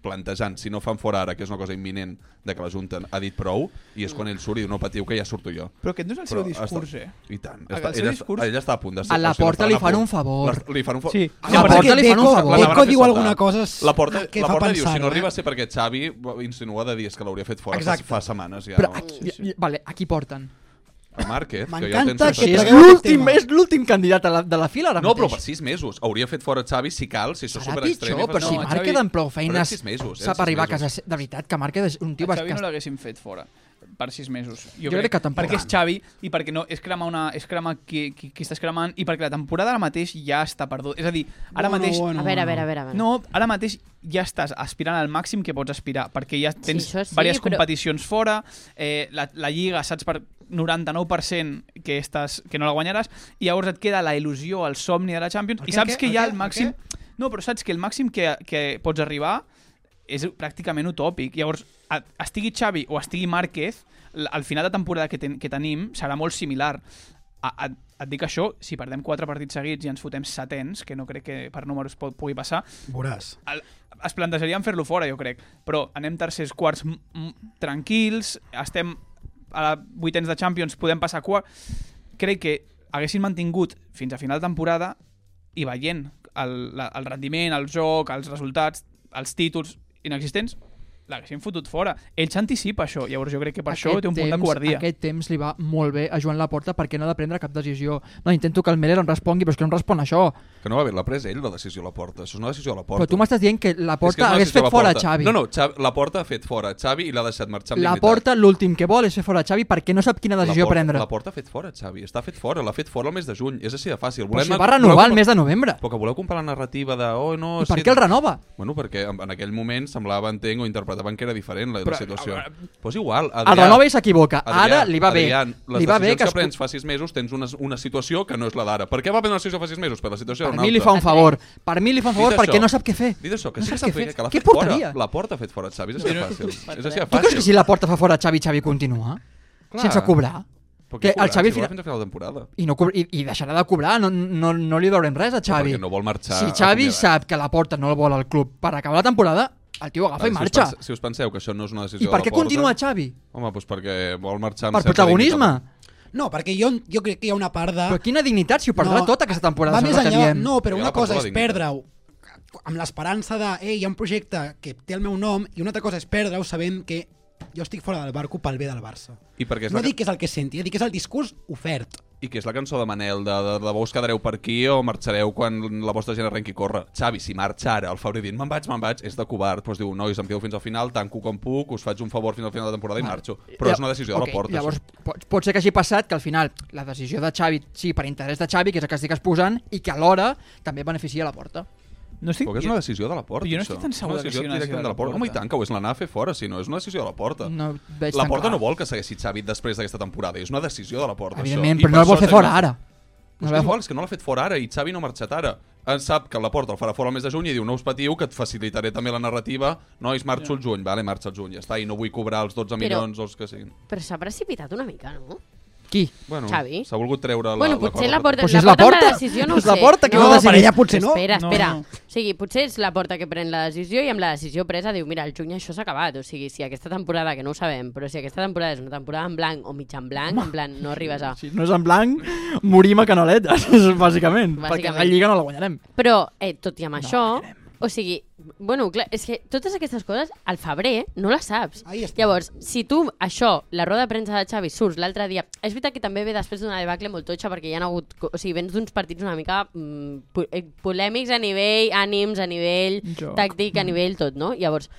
plantejant, si no fan fora ara, que és una cosa imminent de que la Junta ha dit prou, i
Mm.
és quan ell surt i diu, no patiu, que ja surto jo.
Però aquest no és el seu discurs,
està,
eh?
I tant.
El
Està,
seu
ella,
discurs-
discurs... ella està a punt de ser...
A la
o sigui,
porta
l'estan
li
a
fan
punt.
un favor.
Les- Li fan un favor.
Sí.
Ah,
Sí,
no,
però
perquè
que li fan un
Deco,
favor.
L'anaven a
Deco
fer
diu
saltar.
alguna cosa s-
La porta,
que
la
fa
porta
pensar.
diu, si no
eh?
arriba a ser perquè Xavi insinua de dies que l'hauria fet fora fa,
Exacte.
fa setmanes ja.
Però
no?
aquí, i- Vale, aquí porten.
A Márquez, que ja ho
M'encanta
tens
que
Sí,
sense-
és
tragueu aquest
l'últim
tema.
és l'últim candidat a la, de la fila ara
No, però per
mateix.
6 mesos. Hauria fet fora Xavi si cal, si això és
Serà
superextrem.
pitjor, però si
No, a
Marc
Xavi-
queda amb prou
Però
feines
és sis mesos, eh,
sap
sis
arribar a
mesos.
casa. se- De veritat, que Marc és un tio...
a
bas-
Xavi
que-
no l'haguessin fet fora per sis mesos.
Jo crec que tampoc.
Perquè és Xavi i perquè no, és cremar, una, és cremar qui, qui, qui estàs cremant i perquè la temporada ara mateix ja està perduda. És a dir, ara
Bueno,
mateix...
bueno,
A veure, a veure,
bueno.
a veure. a veure.
No, ara mateix ja estàs aspirant al màxim que pots aspirar, perquè ja tens
això sí,
diverses
però-
competicions fora, eh, la, la Lliga saps per 99% que, estàs, que no la guanyaràs, i llavors et queda la il·lusió, el somni de la Champions,
El
i
què,
saps
el
que
què,
ja
el
el
què, el
màxim... No, però saps que el màxim que, que pots arribar és pràcticament utòpic. Llavors, a- estigui Xavi o estigui Márquez, l- al final de temporada que, ten, que tenim serà molt similar. A, a, et dic això, si perdem quatre partits seguits i ens fotem setens, que no crec que per números pot, pugui passar,
Veuràs.
el, es plantejarien fer-lo fora, jo crec. Però anem tercers, quarts m- m- tranquils, estem a la vuitens de Champions, podem passar quart... Crec que haguessin mantingut fins a final de temporada i veient el, la, el rendiment, el joc, els resultats, els títols inexistents, l'haguessin fotut fora. Ell s'anticipa això, llavors jo crec que per
Aquest
això té un punt de
temps-
covardia.
Aquest temps li va molt bé a Joan Laporta perquè no ha de prendre cap decisió. No, intento que el Meller em respongui, però és que no em respon això.
Que no va haver-la pres ell, la decisió a la porta. Això és una decisió a la porta.
Però tu m'estàs dient que la
És que és
porta
una
hagués
decisió
fet
de
fora
Laporta.
Xavi.
No, no, Xavi, la porta ha fet fora Xavi i l'ha deixat marxar amb
la
dignitat.
porta l'últim que vol és fer fora Xavi perquè no sap quina decisió
la porta,
prendre.
La porta ha fet fora, Xavi. Està fet fora. L'ha fet fora el mes de juny. És així de fàcil.
Però si
Volem-
va renovar
voleu-
el mes de novembre.
Però que voleu comprar la narrativa de... Oh, no,
I per
sí,
què el renova?
Bueno, perquè en, en aquell moment semblava, entenc, o interpretaven que era diferent la,
Però,
la situació.
eh,
a
Però és igual. Adrià,
El renova i s'equivoca.
Adrià,
Ara li va bé.
Adrià, les
Li va bé que
decisions que,
es-
prens fa sis mesos tens una, una situació que no és la d'ara. Per què va prendre la decisió fa sis mesos? Per la
Per
situació era una
mi li fa
altra.
un favor. Per mi li fa un favor
Dit
perquè
això-
no sap què fer.
Dit això, que
No
sí que
saps
s'ha
què
fet,
fer.
que l'ha
Què
fet fora.
portaria?
La porta ha fet fora, Xavi, és així de fàcil. És així de
Tu creus
fàcil.
que si la porta fa fora Xavi, Xavi continua?
Clar.
Sense cobrar?
Però
que
què
el
cobra?
Xavi
Si
fina-
vol fins a final de temporada.
I, no cobr... I, I deixarà de cobrar, no, no, no li veurem res a Xavi.
perquè no vol marxar
Si Xavi
acomiadat.
sap que la porta no el vol al club per acabar la temporada, el tio agafa i
Ara,
marxa.
Ah, Si us, pense, si us penseu que això no és una decisió
I per
de la
què
porta,
continua Xavi?
Home, doncs perquè vol marxar... amb
Per
certa
protagonisme?
dignitat.
No, perquè jo, jo crec que hi ha una part de...
Però quina dignitat si ho perdrà tot aquesta temporada.
Va
segons
més
el que
enllà,
diem.
no, però
Ja
una
la
cosa és
perdó, la dignitat.
perdre-ho amb l'esperança de, ei, hi ha un projecte que té el meu nom, i una altra cosa és perdre-ho sabent que jo estic fora del barco pel bé del Barça.
I perquè és
No
la...
dic que és el que senti, eh, dic que és el discurs ofert.
I que és la cançó de Manel, de, de, de vos quedareu per aquí o marxareu quan la vostra gent arrenqui a córrer. Xavi, si marxa ara, el Fabri dient me'n vaig, me'n vaig, és de covard. Doncs diu, nois, em quedo fins al final, tanco com puc, us faig un favor fins al final de la temporada i marxo. Però
Ja-
és una decisió
ok,
de la porta.
Llavors,
això.
pot, pot ser que hagi passat que al final la decisió de Xavi, sí, per interès de Xavi, que és el que estic exposant, i que alhora també beneficia la porta.
No estic...
Però que és una decisió de la porta,
Jo no
això.
estic tan segur
És una
que sigui
decisió
una decisió
directament de la porta. Home, i tant, que ho és l'anar a fer fora, si no, és una decisió de la porta.
No ho veig
la
tan
porta
clar.
no vol que segueixi Xavi després d'aquesta temporada, és una decisió de la porta,
Evidentment,
això. I
però no
per
el vol
sort
fer
tenim
fora
una-
ara.
No és que, igual, és que no l'ha fet fora ara i Xavi no ha marxat ara. En sap que la porta el farà fora el mes de juny i diu no us patiu, que et facilitaré també la narrativa. Nois, marxo el juny, vale, marxa el juny, ja està, i no vull cobrar els 12 milions o els que siguin.
Però s'ha precipitat una mica, no?
Qui?
Bueno,
Xavi?
s'ha volgut treure la,
bueno,
la
potser
corda.
la porta,
Però si és la
porta, amb
porta,
la decisió no
és
ho
la
sé.
porta que ho
No,
ha
per
decidit.
allà potser no.
Espera,
No,
espera.
no.
O sigui, potser és la porta que pren la decisió i amb la decisió presa diu, mira, el juny això s'ha acabat. O sigui, si aquesta temporada, que no ho sabem, però si aquesta temporada és una temporada en blanc o mig en blanc, en plan, no arribes a...
Si no és en blanc, morim a canaletes, bàsicament, perquè
Bàsicament.
la Lliga no la guanyarem.
Però, eh, tot i amb això, o sigui, bueno, clar, és que totes aquestes coses al febrer no les saps.
Ahí està.
Llavors, si tu, això, la roda de premsa de Xavi surts l'altre dia, és veritat que també ve després d'una debacle molt totxa perquè hi ha hagut, co- o sigui, vens d'uns partits una mica mm, po- eh, polèmics a nivell ànims, a nivell
Joc.
tàctic, a nivell tot, no? Llavors,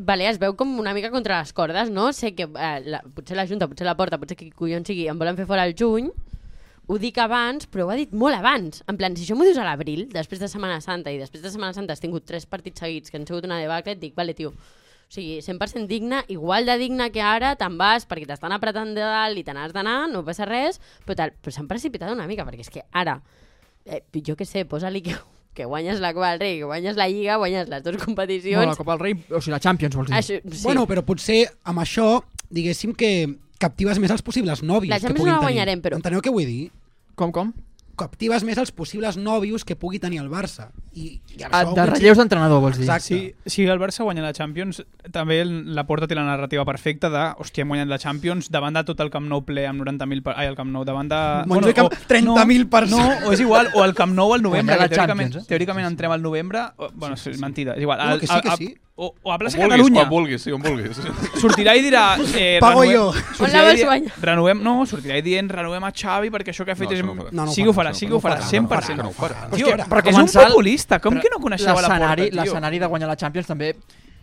Vale, es veu com una mica contra les cordes, no? Sé que eh, la, potser la Junta, potser la Porta, potser qui collons sigui, em volen fer fora el juny, ho dic abans, però ho ha dit molt abans. En plan, si això m'ho dius a l'abril, després de Setmana Santa, i després de Setmana Santa has tingut tres partits seguits que han sigut una debacle, et dic, vale, tio, o sigui, 100% digne, igual de digne que ara, te'n vas perquè t'estan apretant de dalt i te n'has d'anar, no passa res, però, tal. però s'han precipitat una mica, perquè és que ara, eh, jo què sé, posa-li que, que guanyes la Copa del Rei, que guanyes la Lliga, guanyes les dues
No, la
competicions...
Copa del Rei, o sigui, la Champions, vols dir.
Això, sí.
Sí. Bueno, però potser amb això, diguéssim que captives més els possibles nòvios
La
que
Champions
puguin
no la
tenir.
guanyarem, però-
Enteneu què vull dir?
Com, com?
Captives més els possibles nòvios que pugui tenir el Barça. I, i això
Ah, de
potser-
relleus d'entrenador, vols dir.
Exacte.
Si, si el Barça guanya la Champions, també el- la porta té la narrativa perfecta de, hòstia, hem guanyat la Champions davant de tot el Camp Nou ple amb 90.000... per- Ai, el Camp Nou, davant de...
Montjuïc amb
o-
30.000
no,
persones.
No, o és igual, o el Camp Nou al novembre,
Guanyar la
que teòricament,
Champions, eh?
teòricament entrem al novembre... O, bueno, sí, mentida, és igual.
No,
al-
que sí, que
a- a-
sí.
O, o a plaça
Quan vulguis,
Catalunya.
quan vulguis, sí, on vulguis.
sortirà i dirà... Eh,
Pago
renovem-
jo.
Hola,
sortirà i
vas
dirà-
guanyar.
Renovem, no, sortirà i dient renovem a Xavi perquè això que ha fet
No,
és...
això no ho farà.
No, no ho
sí que ho
farà,
farà,
no,
sí
no
que
ho
ho farà,
farà, no ho
100%.
farà, no ho farà.
Tio,
Però és
que
és un
començar-
populista, com que no coneixeu la porta,
L'escenari-
tio?
L'escenari de guanyar la Champions també...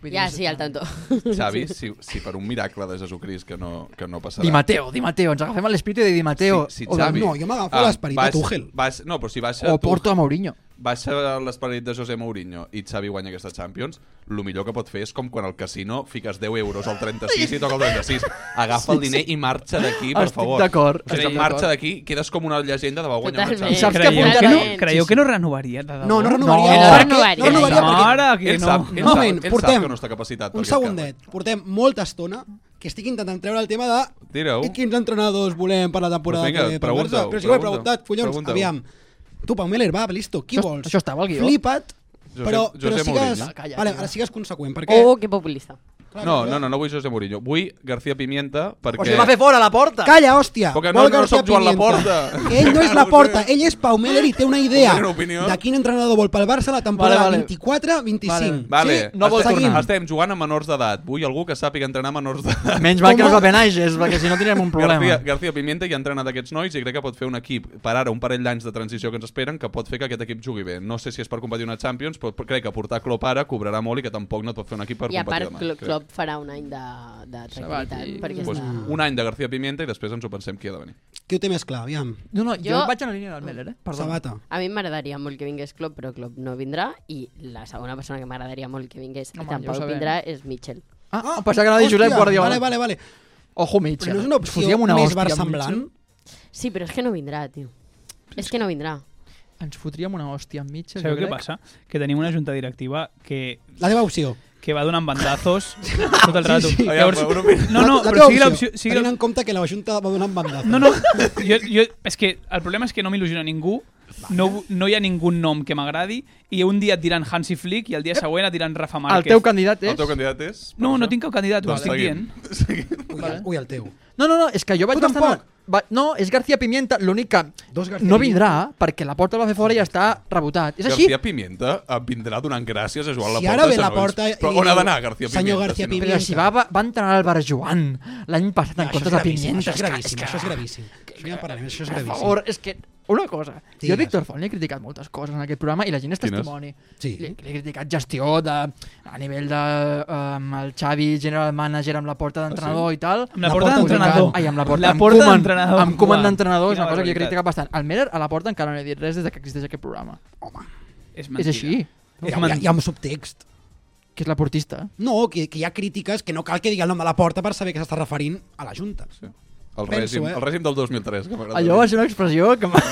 vull dir,
Ja,
és-
sí, al tanto.
Xavi, si, si per un miracle de Jesucrist que no, que no passarà...
Di Matteo, Di Matteo, ens agafem a l'espíritu de Di Matteo.
si, si
o, de-
Xavi,
no, jo m'agafo
ah,
l'esperit de
baix-
Tuchel.
baix- no, però si baixa
o
tu-
Porto a Mourinho.
baixa l'esperit de José Mourinho i Xavi guanya aquesta Champions, el millor que pot fer és com quan al casino fiques 10 euros al 36 i toca el 36. Agafa el diner i marxa d'aquí, per
Estic
favor.
d'acord,
O sigui,
estic
marxa
d'acord.
d'aquí, quedes com una llegenda de va guanyar una
Totalment.
I saps
Champions.
que
Creieu
apunta-
que no,
Sí,
creieu
sí.
que no renovaria, de debò?
No, no renovaria. No,
No.
perquè,
Renovaria.
no renovaria perquè...
Mare, que
Ell
no.
sap, ell
Un
sap,
moment,
ell
portem
sap que no està capacitat. per
Un
aquest càrrec.
segundet. Portem molta estona que estic intentant treure el tema de
Tira-ho.
i quins entrenadors volem per la temporada
Doncs vinga,
que ve. pel
pregunta-ho,
Barça. Però si ho he
pregunta-ho,
preguntat, collons,
pregunta-ho.
aviam. Tu, Pau Meller, va, listo, qui
Això-
vols?
això estava al guió. Ah,
Flipa't,
Josep-
però,
Josep
però sigues...
Mourinho.
Calla,
vale,
tio.
ara sigues conseqüent, perquè
Oh, que populista.
No, no, no, no vull José Mourinho. Vull García Pimienta perquè...
O sigui, va fer fora a la porta.
Calla, hòstia!
Però que
Vol
no- no
García
sóc Joan
Pimienta.
Laporta.
Ell no és la
No ho
porta,
sé.
ell és Pau Meller i té una idea
Una opinió.
de quin entrenador vol pel Barça la temporada
Vale, vale.
24-25.
Vale.
Sí, no vol
estem,
tornar.
Estem jugant a menors d'edat. Vull algú que sàpiga entrenar menors d'edat.
Menys mal que no és el Benaiges, perquè si no tindrem un
García,
problema.
García Pimienta ja ha entrenat aquests nois i crec que pot fer un equip per ara, un parell d'anys de transició que ens esperen, que pot fer que aquest equip jugui bé. No sé si és per competir una Champions, però crec que portar Klopp ara cobrarà molt i que tampoc no et pot fer un equip per
I a
competir
part,
demà.
Cl-
crec.
Klopp farà un any de, de tranquil·litat.
Sabàtic.
Perquè
Pues,
està...
un any de García Pimienta i després ens ho pensem qui ha de venir.
Qui ho té més clar, aviam?
No, no, jo,
Jo-
vaig a la línia del Meller, eh? Perdó.
Sabata.
A mi m'agradaria molt que vingués Klopp, però Klopp no vindrà i la segona persona que m'agradaria molt que vingués
Home,
i
ja ho
tampoc
sabem.
vindrà és Mitchell.
Ah, oh, pensava que anava a dir Josep
Hòstia,
Guardiola.
Vale, vale, vale.
Ojo Mitchell.
Però no és una
Ens
opció
fotríem una
més
hòstia amb
versemblant?
Sí, però és que no vindrà, tio. És que no vindrà.
Mitchell. Ens fotríem una hòstia amb Mitchell,
Sabeu
jo
què
crec.
passa? Que tenim una junta directiva que,
La teva opció.
que va donant bandazos tot el rato.
sí.
Aviam, una opinió.
no, no,
la, la
però
teva
sigui l'opció... Sigui
Tenint
la-
en compte que la Junta va donar en bandada.
No, no, jo, jo, és que el problema és que no m'il·lusiona ningú, no, no hi ha ningú nom que m'agradi, i un dia et diran Hansi Flick i el dia següent et diran Rafa
El
Márquez.
teu candidat és...
El teu candidat és...
No, no tinc cap candidat, ho
Vale.
estic dient.
Seguim.
Ui, el, ui, el teu.
No, no, no, és que jo vaig
Tu
bastant...
tampoc.
a- Va... No, és García Pimienta, l'únic que
Dos García
no vindrà perquè la porta el va fer fora i està rebotat. És així,
García Pimienta eh, vindrà donant gràcies a Joan
Si
Laporta.
ara ve
senyor
Laporta
Lluís. Però
i
on ha
diu,
d'anar García Pimienta?
"Senyor García
si no-
però si va, va, va entrenar el Barjoan l'any passat en
això és
comptes de
gravíssim,
Pimienta.
Això és
que-
gravíssim,
que-
això és gravíssim. Això ja en parlarem, això és
Per
gravíssim.
favor, és que una cosa, jo
Digues.
a Víctor Font li he criticat moltes coses en aquest programa i la gent és
Quines?
testimoni.
Sí.
Li, li he criticat gestió de, a nivell de um, el Xavi, general manager amb la porta d'entrenador i tal.
Amb la porta d'entrenador.
Ai, amb la porta,
La
amb
porta
Koeman-
d'entrenador.
Amb Koeman
Uau,
d'entrenador és
quina
una cosa que jo he
barbaritat.
criticat bastant. Al Meller a la porta encara no he dit res des de que existeix aquest programa.
És,
És així,
Hi ha,
És
hi ha, hi
mentida.
ha un subtext.
que és la portista.
No, que, que hi ha crítiques que no cal que digui el nom de la porta per saber que s'està referint a la Junta.
El
Penso,
règim,
eh?
el règim del 2003, que m'agrada.
Allò va ser una expressió que m'ha...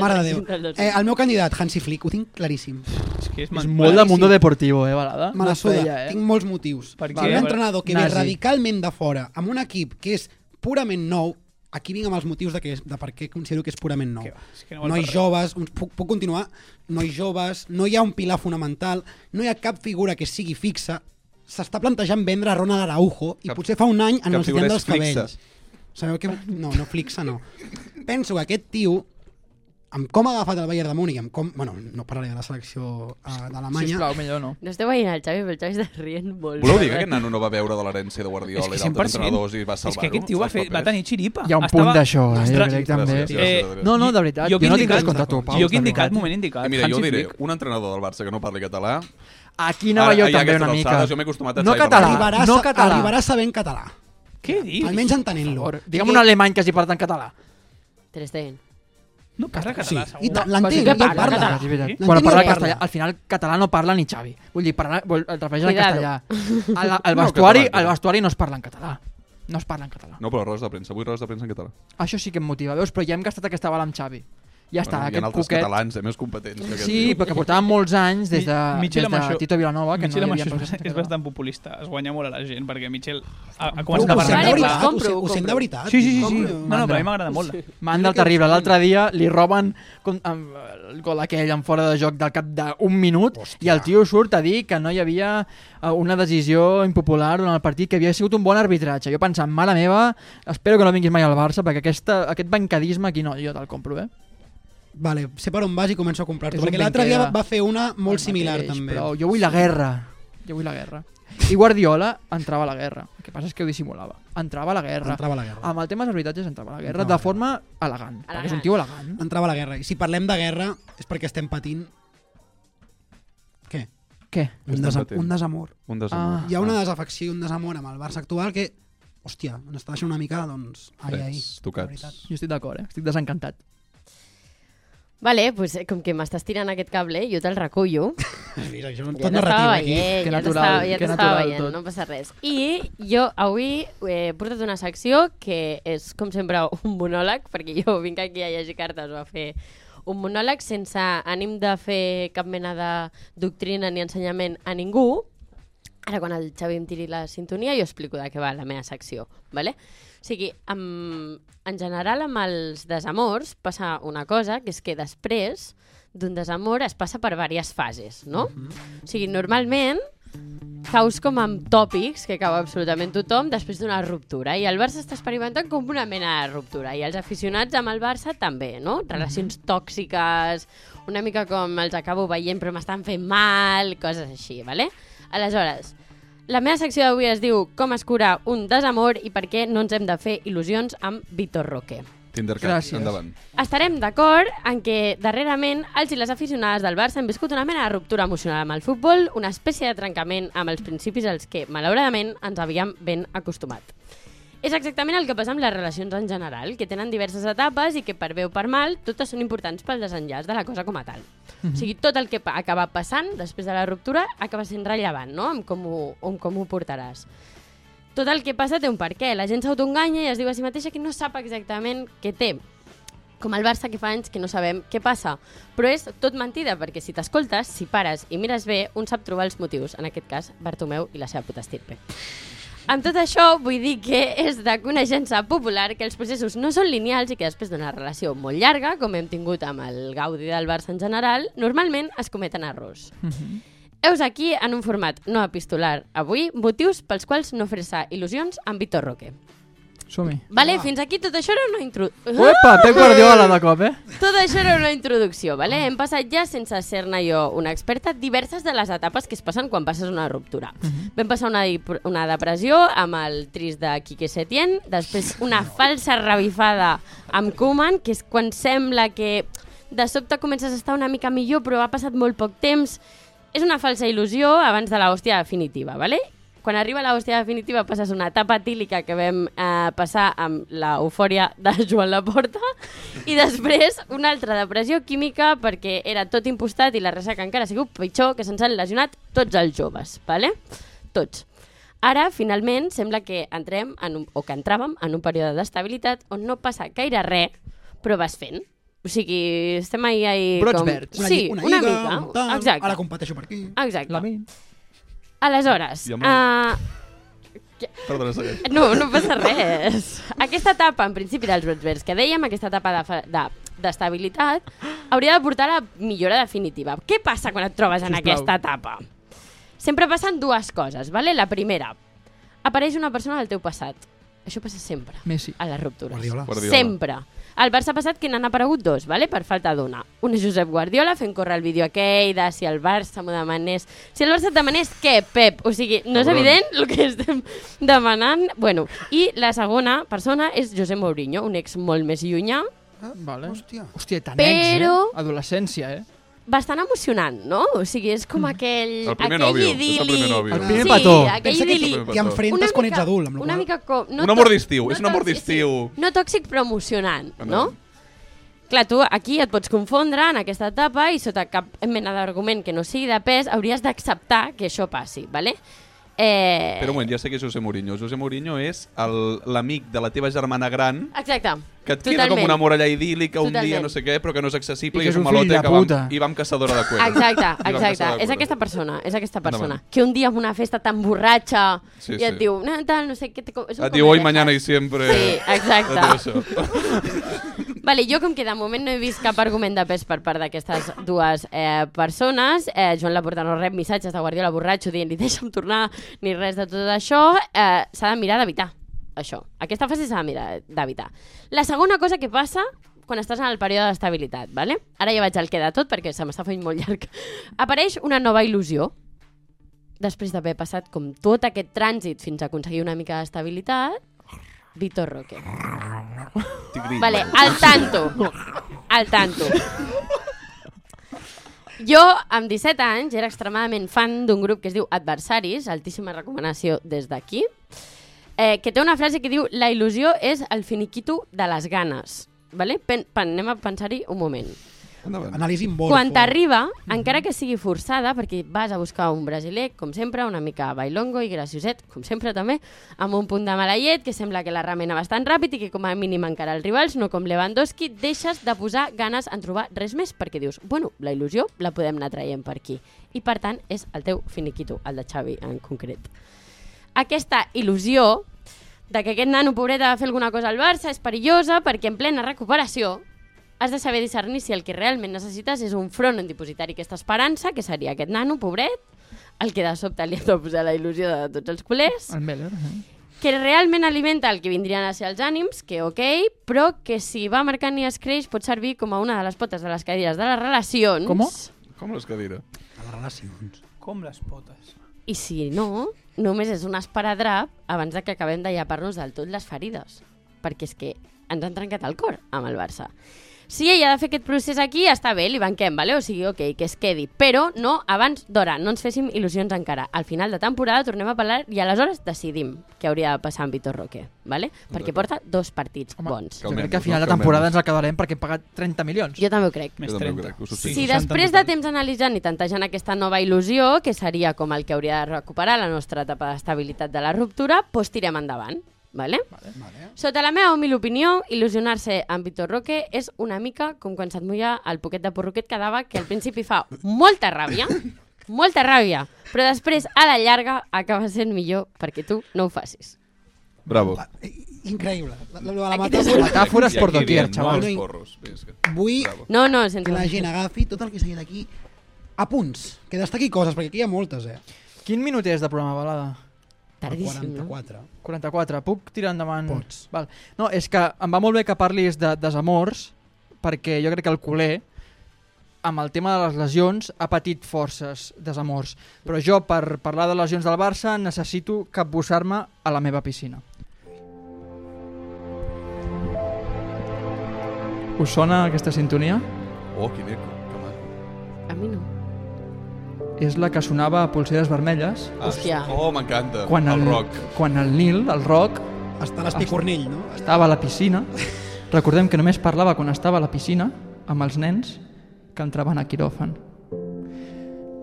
Mare de Déu.
El del dos.
Eh, el meu candidat, Hansi Flick, ho tinc claríssim.
És, que és,
És
mentida.
molt de Mundo Deportivo, eh, Balada?
Me la
No
suda,
feia, eh?
tinc molts motius.
Per
Perquè
què?
un entrenador que ve
Nazi.
radicalment de fora, amb un equip que és purament nou, aquí vinc amb els motius de, que, de per què considero que és purament nou.
Que va, és que no vol
nois
per res.
joves, uns- puc, puc continuar? Nois joves, no hi ha un pilar fonamental, no hi ha cap figura que sigui fixa, s'està plantejant vendre a Ronald Araujo i
Cap-
potser fa un any
cap
en els
figura
tindrà els
és fixa.
cabells. Sabeu que... No, no flixa, no. Penso que aquest tio, amb com ha agafat el Bayern de Múnich, amb com... Bueno, no parlaré de la selecció eh, d'Alemanya,
Sisplau, millor no.
No esteu veient el Xavi, però el Xavi està rient molt.
Voleu dir que aquest nano no va veure de l'herència de Guardiola
És
i
que
d'altres
100%.
entrenadors i va salvar-ho?
és que aquest tio va,
als
fer, va
papers?
tenir xiripa.
Hi ha un
Estava-
punt d'això, eh, jo
Ostres,
crec també.
Gràcies,
Eh,
gràcies.
No, no, de veritat, jo,
que
no
he
tinc
indicat-
res contra tu, Pau.
Jo que he
de
indicat,
veritat.
moment indicat.
I mira, jo
Hansi
diré,
Flick.
un entrenador del Barça que no parli català...
Aquí anava
Ara-
jo
ah, ai,
també
aquestes
una mica.
alçades jo m'he acostumat a
no
Xavi
català,
arribarà,
no
sa-
català.
arribarà sabent català.
Què dius?
Almenys entenent-lo.
Or, digue'm un alemany que hagi parlat en català.
Ter Stegen.
No parla català,
I
segur.
tant, l'entenc,
que
i el
parla
parla.
català.
És veritat.
Sí?
Quan
L'entenc i
parla
el
castellà,
parla.
al final català no parla ni Xavi. Vull dir, parla, vol, et refereix en
Cuidado.
castellà. Al, al
No,
vestuari,
català.
al vestuari no es parla en català. No es parla en català.
No, però rodes de premsa. Vull rodes de premsa en català.
Això sí que em motiva, veus? Però ja hem gastat aquesta bala amb Xavi. Ja està,
Bueno, hi ha
aquest
altres
cuquet...
catalans, eh, més competents. que aquest
Sí,
tio.
perquè portàvem molts anys des de,
Mi- Michel
des de
Amaixó-
Tito Vilanova, que
Michel
no hi
Amaixó
havia
és,
parlat en
és
català.
bastant populista, es guanya molt a la gent, perquè Michel ha, ha
Ho,
començat a
ho sent
parlar
de
Vale,
català.
veritat,
pues
ho,
compro,
sent-
ho
ho sent de
compro.
veritat.
Sí, sí, sí, sí.
Compro.
No, no, però a mi m'agrada molt.
Mandel terrible, l'altre dia li roben com, amb, eh, el gol aquell en fora de joc del cap d'un minut i el tio surt a dir que no hi havia eh, una decisió impopular durant el partit, que havia sigut un bon arbitratge. Jo pensant, mare meva, espero que no vinguis mai al Barça perquè aquesta, aquest bancadisme aquí no, jo te'l compro, eh?
Vale, sé per on vas i començo a comprar-te.
És un
Perquè l'altre dia
Benqueda.
va- va fer una molt
El
similar,
mateix,
també.
Però jo vull la guerra, jo vull la guerra. I Guardiola entrava a la guerra, el que passa és que ho dissimulava. Entrava a la guerra.
Entrava a la guerra.
Amb el tema dels habitatges entrava a la guerra
Entrava a la
de forma elegant, perquè és un tio elegant.
Entrava a la guerra. I si parlem de guerra és perquè estem patint... Què?
Què?
Un,
Estem
desa
patint.
un desamor.
Un desamor.
Ah.
Hi ha una desafecció i un desamor amb el Barça actual que, hòstia, ens està deixant una mica, doncs, ai, ai.
Freds, tocats.
veritat.
Jo estic d'acord, eh? Estic desencantat.
Vale, pues, eh, com que m'estàs tirant aquest cable, jo te'l recullo.
Mira, això
Ja
tot narratiu,
eh,
t'estava
aquí.
veient,
Que
ja
natural,
t'estava ja
que
t'estava
natural
veient,
tot.
no passa res. I jo avui eh, he portat una secció que és, com sempre, un monòleg, perquè jo vinc aquí a llegir cartes o a fer un monòleg sense ànim de fer cap mena de doctrina ni ensenyament a ningú. Ara, quan el Xavi em tiri la sintonia, jo explico de què va la meva secció, vale? O sigui, amb, en general, amb els desamors passa una cosa, que és que
Mhm.
després d'un desamor es passa per diverses fases, no? O sigui, normalment caus com amb tòpics, que cau absolutament tothom, després d'una ruptura. I el Barça està experimentant com una mena de ruptura. I els aficionats amb el Barça també, no? Relacions tòxiques, una mica com els acabo veient però m'estan fent mal, coses així, ¿vale? Aleshores, la meva secció d'avui es diu Com es cura un desamor i per què no ens hem de fer il·lusions amb Vitor Roque.
Tindercat,
Gràcies.
endavant.
Estarem d'acord en que darrerament els i les aficionades del Barça han viscut una mena de ruptura emocional amb el futbol, una espècie de trencament amb els principis als que, malauradament, ens havíem ben acostumat. És exactament el que passa amb les relacions en general, que tenen diverses etapes i que, per bé o per mal, totes són importants pel desenllaç de la cosa com a tal. O sigui, tot el que pa- acaba passant després de la ruptura acaba sent rellevant, no?, amb com ho, amb com ho portaràs. Tot el que passa té un per què. La gent s'autoenganya i es diu a si mateixa que no sap exactament què té com el Barça que fa anys que no sabem què passa. Però és tot mentida, perquè si t'escoltes, si pares i mires bé, un sap trobar els motius, en aquest cas, Bartomeu i la seva puta estirpe. Amb tot això, vull dir que és de coneixença popular que els processos no són lineals i que després d'una relació molt llarga, com hem tingut amb el Gaudi del Barça en general, normalment es cometen errors. Heus aquí, en un format no epistolar, avui, motius pels quals no fer-se il·lusions amb Vitor Roque.
Som-hi.
Vale, fins aquí tot això era una intro...
Uepa, Pep Uhuh! Guardiola de cop, eh?
Tot això era una introducció, vale? Hem passat ja, sense ser-ne jo una experta, diverses de les etapes que es passen quan passes una ruptura. Vam passar una, dip- una depressió amb el trist de Quique Setién, després una falsa revifada amb Koeman, que és quan sembla que de sobte comences a estar una mica millor, però ha passat molt poc temps. És una falsa il·lusió abans de l'hòstia definitiva, vale? Quan arriba l'hòstia definitiva passes una etapa tílica que vam eh, passar amb l'eufòria de Joan Laporta i després una altra depressió química perquè era tot impostat i la ressaca encara ha sigut pitjor que se'ns han lesionat tots els joves, vale? Tots. Ara, finalment, sembla que entrem en un, o que entràvem en un període d'estabilitat on no passa gaire res, però vas fent. O sigui, estem ahí... ahí
Brots verds.
Una,
Sí,
lli-
una,
una lliga,
mica.
un tant,
Exacte.
ara competeixo per aquí.
Exacte.
La min.
Aleshores,
I amb
uh,
Perdona, segueix.
no, no passa res. Aquesta etapa, en principi, dels brots verds que dèiem, aquesta etapa de fa- de- d'estabilitat, hauria de portar a la millora definitiva. Què passa quan et trobes en
Sisplau.
aquesta etapa? Sempre passen dues coses, vale? La primera, apareix una persona del teu passat. Això passa sempre,
Messi.
a les ruptures.
Guardiola.
Guardiola.
Sempre. El Barça ha passat que n'han aparegut dos, vale? per falta d'una. Un és Josep Guardiola fent córrer el vídeo aquell de si el Barça m'ho demanés... Si el Barça et demanés què, Pep? O sigui, no és
Cabron.
evident el que estem demanant. Bueno, I la segona persona és Josep Mourinho, un ex molt més llunyà,
Vale.
Hòstia.
Hòstia, tan
Però-
ex, eh? Adolescència, eh?
bastant emocionant, no? O sigui, és com aquell...
Mm. El primer
Eh, aquell
nòvio, és el
idili.
primer nòvio.
El primer
sí,
petó.
aquell
Pensa que
idili.
idili.
t'hi enfrentes quan ets adult. Amb la
una
qual-
mica com...
Un amor
tò-
d'estiu, és un amor
tòxic, sí,
d'estiu.
No tòxic, però emocionant, no?
Endavant.
Clar, tu aquí et pots confondre en aquesta etapa i sota cap mena d'argument que no sigui de pes hauries d'acceptar que això passi, ¿vale? Eh...
Però un moment, ja sé que és José Mourinho. José Mourinho és el- l'amic de la teva germana gran
Exacte.
que et queda com una muralla idíl·lica un
Totalment.
dia, no sé què, però que no és accessible
I
i,
que
és
és
un
un fill
malote
de
que vam,
puta.
i vam caçadora de cuero.
Exacte,
I vam
exacte.
caçadora de
És
cuero.
aquesta persona, és aquesta persona.
Endavant.
Que un dia en una festa tan borratxa
Sí,
i et
sí.
diu, no, tal, no sé què... Te... com-" És un
Et diu,
com
hoy,
el
mañana
Texas".
i siempre...
Sí, exacte.
Ja té això.
Vale, jo com que de moment no he vist cap argument de pes per part d'aquestes dues eh, persones, eh, Joan Laporta no rep missatges de Guardiola borratxo dient ni deixa'm tornar ni res de tot això, eh, s'ha de mirar d'evitar això. Aquesta fase s'ha de mirar d'evitar. La segona cosa que passa quan estàs en el període d'estabilitat, vale? ara ja vaig al que de tot perquè se m'està fent molt llarg, apareix una nova il·lusió, després d'haver passat com tot aquest trànsit fins a aconseguir una mica d'estabilitat, Vitor Roque.
Tigrí.
Vale, al tanto. Al tanto. Jo, amb 17 anys, era extremadament fan d'un grup que es diu Adversaris, altíssima recomanació des d'aquí, eh, que té una frase que diu la il·lusió és el finiquito de les ganes. Vale? Pen, pen, anem a pensar-hi un moment.
Endavant.
Anàlisi en
Quan t'arriba, encara que sigui forçada, perquè vas a buscar un brasiler, com sempre, una mica bailongo i gracioset, com sempre també, amb un punt de mala llet que sembla que la remena bastant ràpid i que com a mínim encara els rivals, no com Lewandowski, deixes de posar ganes en trobar res més perquè dius, bueno, la il·lusió la podem anar traient per aquí. I per tant és el teu finiquito, el de Xavi en concret. Aquesta il·lusió de que aquest nano pobret ha de fer alguna cosa al Barça és perillosa perquè en plena recuperació has de saber discernir si el que realment necessites és un front antipositari que està esperança, que seria aquest nano pobret, el que de sobte li ha de posar la il·lusió de tots els culers,
El Meller. Eh?
que realment alimenta el que vindrien a ser els ànims, que ok, però que si va marcant i es creix pot servir com a una de les potes de les cadires de les relacions.
Com?
Com les cadira?
A les relacions.
Com les potes.
I si no, només és un esparadrap abans de que acabem de llapar-nos del tot les ferides. Perquè és que ens han trencat el cor amb el Barça. Si ella ha de fer aquest procés aquí, està bé, li banquem, vale? o sigui, ok, que es quedi. Però no abans d'hora, no ens féssim il·lusions encara. Al final de temporada tornem a parlar i aleshores decidim què hauria de passar amb Vitor Roque, vale? perquè
D'acord.
porta dos partits
Home,
bons.
que
Jo crec
Calmem-nos,
que a final
no?
de temporada
Calmem-nos.
ens acabarem perquè hem pagat 30 milions.
Jo també ho crec.
Més
Jo també ho
30.
crec, ho
Sí,
subscric.
si
60 en
després de
total.
temps analitzant i tantejant aquesta nova il·lusió, que seria com el que hauria de recuperar la nostra etapa d'estabilitat de la ruptura, doncs tirem endavant. Vale?
Vale.
Sota la meva humil opinió, il·lusionar-se amb Vitor Roque és una mica com quan se't mulla el poquet de porruquet que dava, que al principi fa molta ràbia, molta ràbia, però després, a la llarga, acaba sent millor perquè tu no ho facis.
Bravo.
Va, i- Increïble. La, la, la
Aquí tens-
metàfora...
Metàfores
I aquí
por doquier,
diem,
xaval.
No
No hi-
els porros. Visca.
Vull
Bravo.
No, no, sense...
que la gent agafi tot el que s'ha dit aquí a punts, que destaqui coses, perquè aquí hi ha moltes, eh?
Quin minut és de programa, Balada?
Tardíssim, no?
44.
44. Puc tirar endavant?
Pots.
Val. No, és que em va molt bé que parlis de desamors, perquè jo crec que el culer, amb el tema de les lesions, ha patit forces desamors. Però jo, per parlar de lesions del Barça, necessito capbussar-me a la meva piscina. Us sona aquesta sintonia?
Oh, quin eco. Que maco.
A mi no.
És la que sonava a Pulseres Vermelles
Ah,
Hòstia.
Oh, m'encanta.
quan
El
el,
rock.
quan el Nil, el rock,
Està l'espicornell, no?
estava a la piscina. Recordem que només parlava quan estava a la piscina amb els nens que entraven a quiròfan.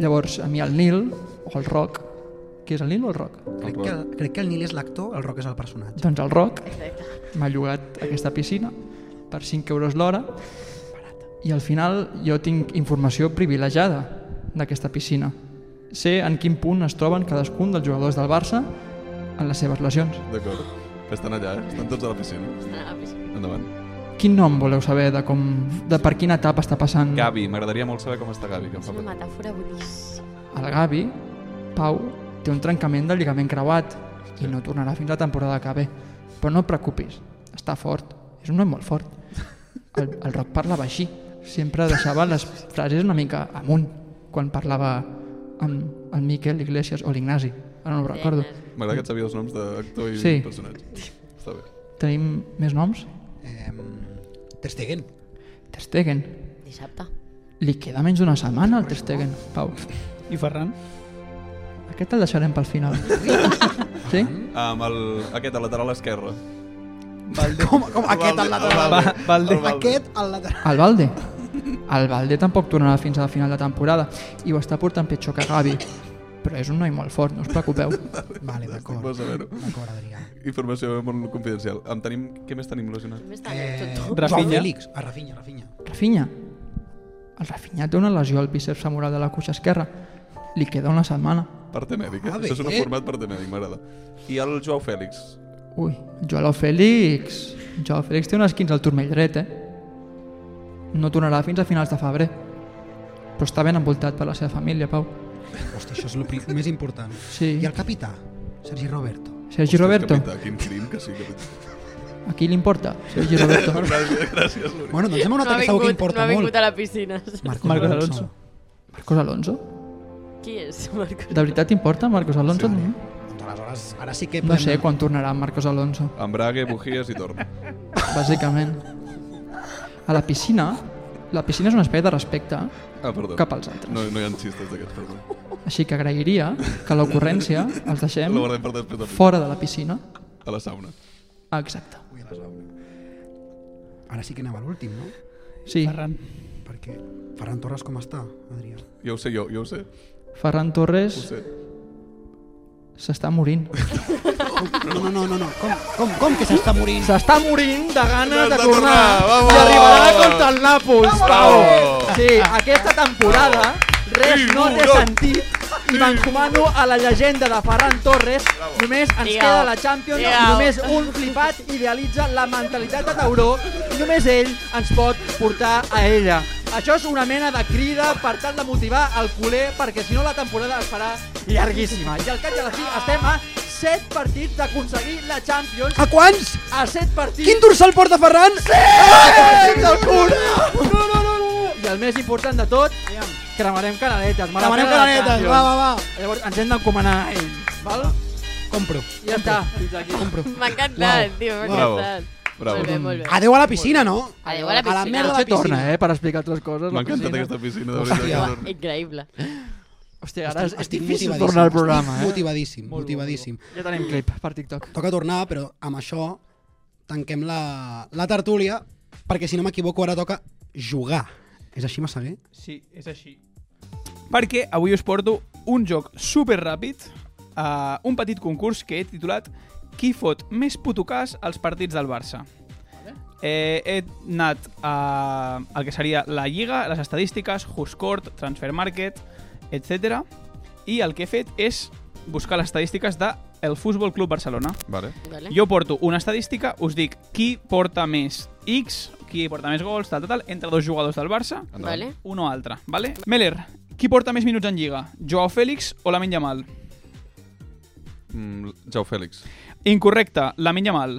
Llavors, a mi el Nil, o el Roc, qui és el Nil o el Roc?
Crec que, crec que el Nil és l'actor, el Roc és el personatge.
Doncs el Roc m'ha llogat aquesta piscina per 5 euros l'hora i al final jo tinc informació privilegiada d'aquesta piscina. Sé en quin punt es troben cadascun dels jugadors del Barça en les seves lesions.
D'acord. Que estan allà, eh? Estan tots a la piscina. Endavant.
Quin nom voleu saber de, com, de per quina etapa està passant?
Gavi, m'agradaria molt saber com està Gavi. Que em
És
fa
una
patir.
metàfora boníssima.
El Gavi, Pau, té un trencament del lligament creuat i no tornarà fins la temporada que ve. Però no et preocupis, està fort. És un noi molt fort. El, el Roc parlava així. Sempre deixava les frases una mica amunt quan parlava amb el Miquel Iglesias o l'Ignasi. Ara no ho recordo.
M'agrada que et sabia els noms d'actor i
Sí.
personatge. Està bé.
Tenim més noms?
Eh, Ter Stegen.
Ter Stegen.
Dissabte.
Li queda menys d'una setmana al Ter Stegen, Pau.
I Ferran?
Aquest el deixarem pel final. Sí?
Amb el, aquest, el lateral esquerre.
Com, com aquest al lateral.
Va, Valde.
Aquest al lateral.
El Valde. El Valde tampoc tornarà fins a la final de temporada i ho està portant pitjor que Gavi. Però és un noi molt fort, no us preocupeu.
Vale, d'acord.
Vas a veure.
D'acord, Adrià.
Informació molt confidencial. Em tenim... Què més tenim lesionat?
Com està
Eh,
tot?
Joao
Rafinha.
Félix. Ah, Rafinha, Rafinha.
Rafinha. El Rafinha té una lesió al bíceps femoral de la cuixa esquerra. Li queda una setmana.
Parte mèdica.
Ah,
Això és un
bé.
format parte mèdic, m'agrada. I el Joao Fèlix.
Ui, Joao Fèlix... Joao Fèlix té unes 15 al turmell dret, eh? No tornarà fins a finals de febrer. Però està ben envoltat per la seva família, Pau.
Hòstia, això és el prim- més important.
Sí.
I el capità, Sergi Roberto.
Sergi Roberto,
Capità, quin crim que sí, capità.
a qui li importa? Sergi Roberto.
Gràcies, gràcies. Luri.
Bueno, doncs hem anat
No
a
ha
que segur que
vingut, no
importa
ha vingut
molt.
a la piscina.
Marcos,
Marcos
Alonso.
Alonso.
Marcos Alonso?
Qui és, Marcos?
De veritat t'importa Marcos Alonso? Sí, no?
Doncs aleshores, ara sí que
No
podem
sé
anar.
quan tornarà Marcos Alonso,
Embrague, bugies i torna.
bàsicament. A la piscina, la piscina és un espai de respecte
Ah, perdó.
cap als altres.
No, no hi ha xistes d'aquests, perdó.
Així que agrairia que l'ocurrència els deixem
La guardem per després de
fora de la piscina.
a la sauna.
Ah, Exacte.
Ara sí que anem a l'últim, no?
Sí,
Ferran.
Perquè Ferran Torres com està, Adrià?
Jo ho sé, jo, jo ho sé.
Ferran
Ho
Torres
sé.
s'està morint.
No, no, no, no, no. Com, com, com que s'està morint?
S'està morint de ganes de
de
tornar.
tornar, vamos!
I arribarà contra el Nàpols, Pau.
Vamos!
Sí, aquesta temporada res no té sentit i m'encomano a la llegenda de Ferran Torres. Només ens
Diau.
queda la Champions,
Diau.
només un flipat idealitza la mentalitat de Tauró i només ell ens pot portar a ella. Això és una mena de crida per tal de motivar el culer perquè si no la temporada es farà llarguíssima. I al cap i a la fi estem a 7 partits d'aconseguir la Champions.
A quants?
A 7 partits.
Quin dorsal porta Ferran? Sí!
Fins al cul! No, no, no, no! I el més important de tot, cremarem canaletes. me la
Demanem
pela la
cananetes,
Champions.
va, va, va.
Llavors ens hem d'encomanar a ell, val?
Compro.
I ja està, fins aquí.
Compro.
M'ha encantat,
Uau.
tio, m'ha
Bravo.
encantat.
Bravo.
Molt bé, molt bé.
Adeu a la piscina, no?
Adéu a la
A la
piscina.
merda de
Potser
la piscina.
torna, eh, per explicar altres coses.
M'ha encantat
Hòstia,
aquesta piscina, de veritat.
Uah, Increïble.
Hòstia, ara és,
Estic-
és
estic
difícil
motivadíssim,
tornar al programa,
estic
eh?
Motivadíssim,
Molt bo,
motivadíssim.
Ja tenim clip per TikTok.
Toca tornar, però amb això tanquem la, la tertúlia, perquè si no m'equivoco ara toca jugar. És així, Massaguer?
Sí, és així. Perquè avui us porto un joc super ràpid, uh, un petit concurs que he titulat Qui fot més putucàs als partits del Barça? Eh, he anat a el que seria la Lliga, les estadístiques, Huscourt, Transfer Market, etc. I el que he fet és buscar les estadístiques de el Futbol Club Barcelona.
Vale.
Vale.
Jo porto una estadística, us dic qui porta més X, qui porta més gols, tal, tal, tal, entre dos jugadors del Barça,
Vale.
un o altre, vale? Meller, qui porta més minuts en Lliga? Joao Fèlix o Lamin Yamal?
Mm, Jaume Fèlix.
Incorrecte, Lamin Yamal.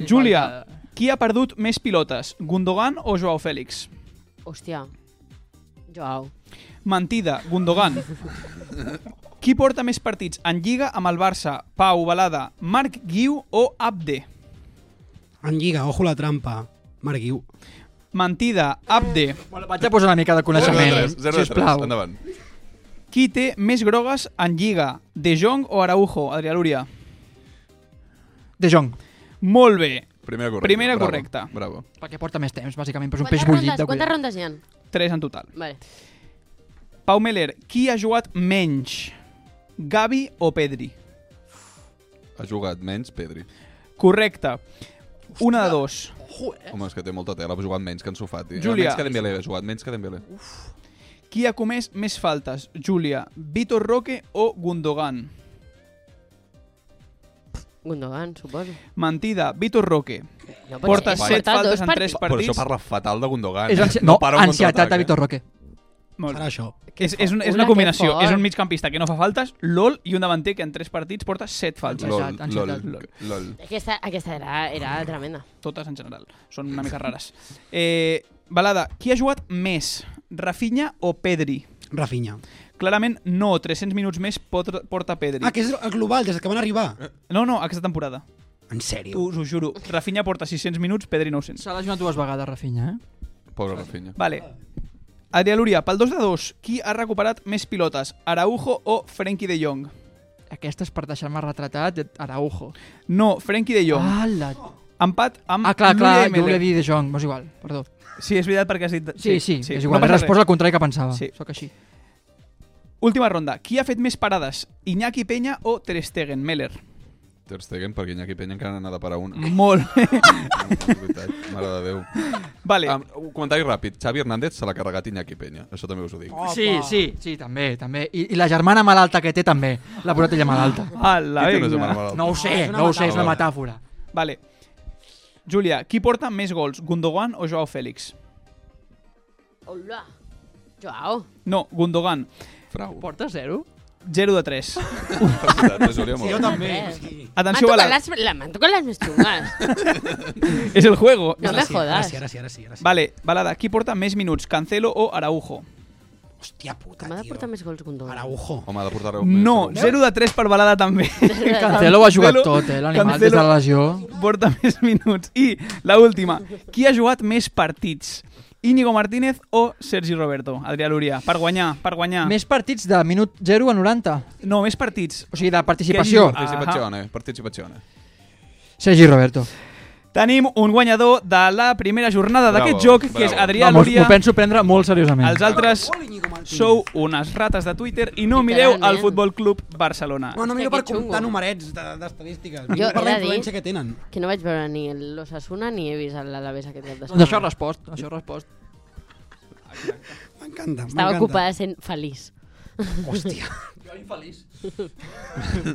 Júlia, qui ha perdut més pilotes? Gundogan o Joao Fèlix?
Hòstia. Joao.
Mentida, Gundogan. qui porta més partits en Lliga amb el Barça? Pau Balada, Marc Guiu o Abde?
En Lliga, ojo la trampa. Marguiu.
Mentida, Abde.
Bueno, vaig a posar una mica de coneixement,
0 de 3, 0 de 3.
sisplau.
Endavant.
Qui té més grogues en Lliga? De Jong o Araujo? Adrià Lúria.
De Jong,
Molt bé.
Primera correcta.
Primera
Bravo,
correcta.
Bravo.
perquè porta més temps, bàsicament, però és un
Quantes
peix bullit
rondes,
de
quantes
cuidar.
rondes hi ha?
Tres en total.
Vale.
Pau Meller, qui ha jugat menys? Gavi o Pedri?
Ha jugat menys Pedri.
Correcte. Una de dos.
Home, és que té molta tela, ha jugat menys que en Sofati. Menys
Júlia.
que Dembélé, ha jugat menys que Dembélé.
Qui ha comès més faltes? Júlia, Vitor Roque o Gundogan?
Gundogan, suposo.
Mentida, Vitor Roque.
No pot
Porta
ser.
set
Porta dos
faltes en
partits.
tres
Però això
partits.
parla fatal de Gundogan.
És
eh?
ansi... No,
para un
ansietat
contraatac,
de
eh?
Vitor Roque.
Molt
Serà
bé.
això.
És, és, un, és
Hola,
una
que
combinació.
fort.
És un migcampista que no fa faltes, LOL, i un davanter que en tres partits porta set faltes.
Lol. ansietat,
LOL,
ansietat.
LOL, LOL.
Aquesta, aquesta era, era tremenda.
Totes en general. Són una mica rares. Eh, Balada, qui ha jugat més? Rafinha o Pedri?
Rafinha.
Clarament no, 300 minuts més pot, porta Pedri.
Ah, que és el global, des que van arribar.
No, no, aquesta temporada.
En sèrio?
Us ho juro. Rafinha porta 600 minuts, Pedri 900.
S'ha lesionat dues vegades, Rafinha, eh?
Pobre Rafinha.
Vale. Adrià Lúria, pel 2 de 2, qui ha recuperat més pilotes? Araujo o Frenkie de Jong?
Aquesta és per deixar-me retratat de Araujo.
No, Frenkie de Jong.
Ah, la...
Empat amb
ah clar, clar,
Núria i
jo volia
Meller.
dir De Jong, però és igual, perdó.
Sí, és veritat perquè has dit...
Sí, sí, sí, és igual, no
No
he
passa
respost
res.
al contrari que pensava.
Sí.
Sí. Soc així.
Última ronda. Qui ha fet més parades? Iñaki Peña o Ter Stegen? Meller.
Ter Stegen, perquè Iñaki Peña encara n'ha de parar un.
Molt bé.
És veritat, mare de Déu.
vale.
Um, un comentari ràpid. Xavi Hernández se l'ha carregat Iñaki Peña. Això també us ho dic.
Sí, sí, sí, també, també. I, I la germana malalta que té també, l'ha posat ella malalta.
Ala,
Qui té més de
vinga.
mala malalta?
No ho sé, no ho sé, és una metàfora.
Vale. Júlia, qui porta més gols? Gundogan o Joao Fèlix?
Hola. Joao.
No, Gundogan.
Frau.
Porta zero?
0 de 3.
Per veritat, no Júlia, molt bé.
també. M'han tocat,
Atenció, Balada.
les, la, m'han tocat les més xungues.
És el juego.
No me
Ara
jodas.
sí, ara sí, ara sí. Ara sí.
Vale, Balada, qui porta més minuts? Cancelo o Araujo?
Hòstia puta,
M'ha de portar
tio.
més gols Gundogan.
Araujo.
Home, ha de portar-ho.
No, 0 de 3 per Balada també.
Cancelo ho ha jugat
Cancelo-
tot, eh, l'animal,
Cancelo-
des de la lesió.
Porta més minuts. I la última, qui ha jugat més partits? Íñigo Martínez o Sergi Roberto? Adrià Lúria, per guanyar, per guanyar.
Més partits de minut 0 a 90.
No, més partits.
O sigui, de participació.
Qui hagi
Participazione, participazione.
Sergi Roberto.
Tenim un guanyador de la primera jornada
Bravo,
d'aquest joc, que és
bravo.
Adrià
Vamos,
Lúria.
m'ho penso prendre molt seriosament.
Els altres sou unes rates de Twitter i no mireu
Literalment.
el Futbol Club Barcelona.
No, no
Hòstia,
miro per
que xungo.
comptar numerets de- d'estadístiques.
Jo
Miro per
he de
la
dir-
influència que tenen.
Que no vaig veure ni l'Osasuna ni he vist l'Alaves aquest cap de
Doncs
setmana.
això respost, això respost.
M'encanta,
Estava
m'encanta.
ocupada sent feliç.
Hòstia,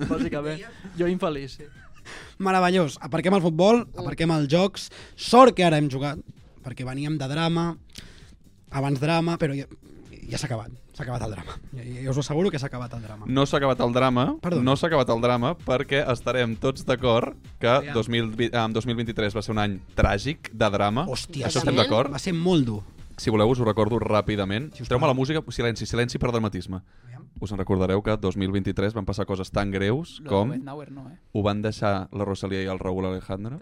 Bàsicament. Jo infeliç, sí.
meravellós. Aparquem el futbol,
Mm.
aparquem els jocs. Sort que ara hem jugat, perquè veníem de drama, abans drama, però ja, ja s'ha acabat, s'ha acabat el drama. Ja, ja us ho asseguro que s'ha acabat el drama.
No s'ha acabat el drama,
Perdó.
no s'ha acabat el drama perquè estarem tots d'acord que 2020, eh, 2023 va ser un any tràgic de drama.
Hòstia, sí.
Això estem d'acord?
Ah, Va ser molt dur.
Si voleu, us ho recordo ràpidament.
Si us
Treu-me
plau.
la música, silenci, silenci per dramatisme. Us en recordareu que 2023 van passar coses tan greus
Lo de
com
Bednauer no, eh?
ho van deixar la Rosalia i el Raúl Alejandro.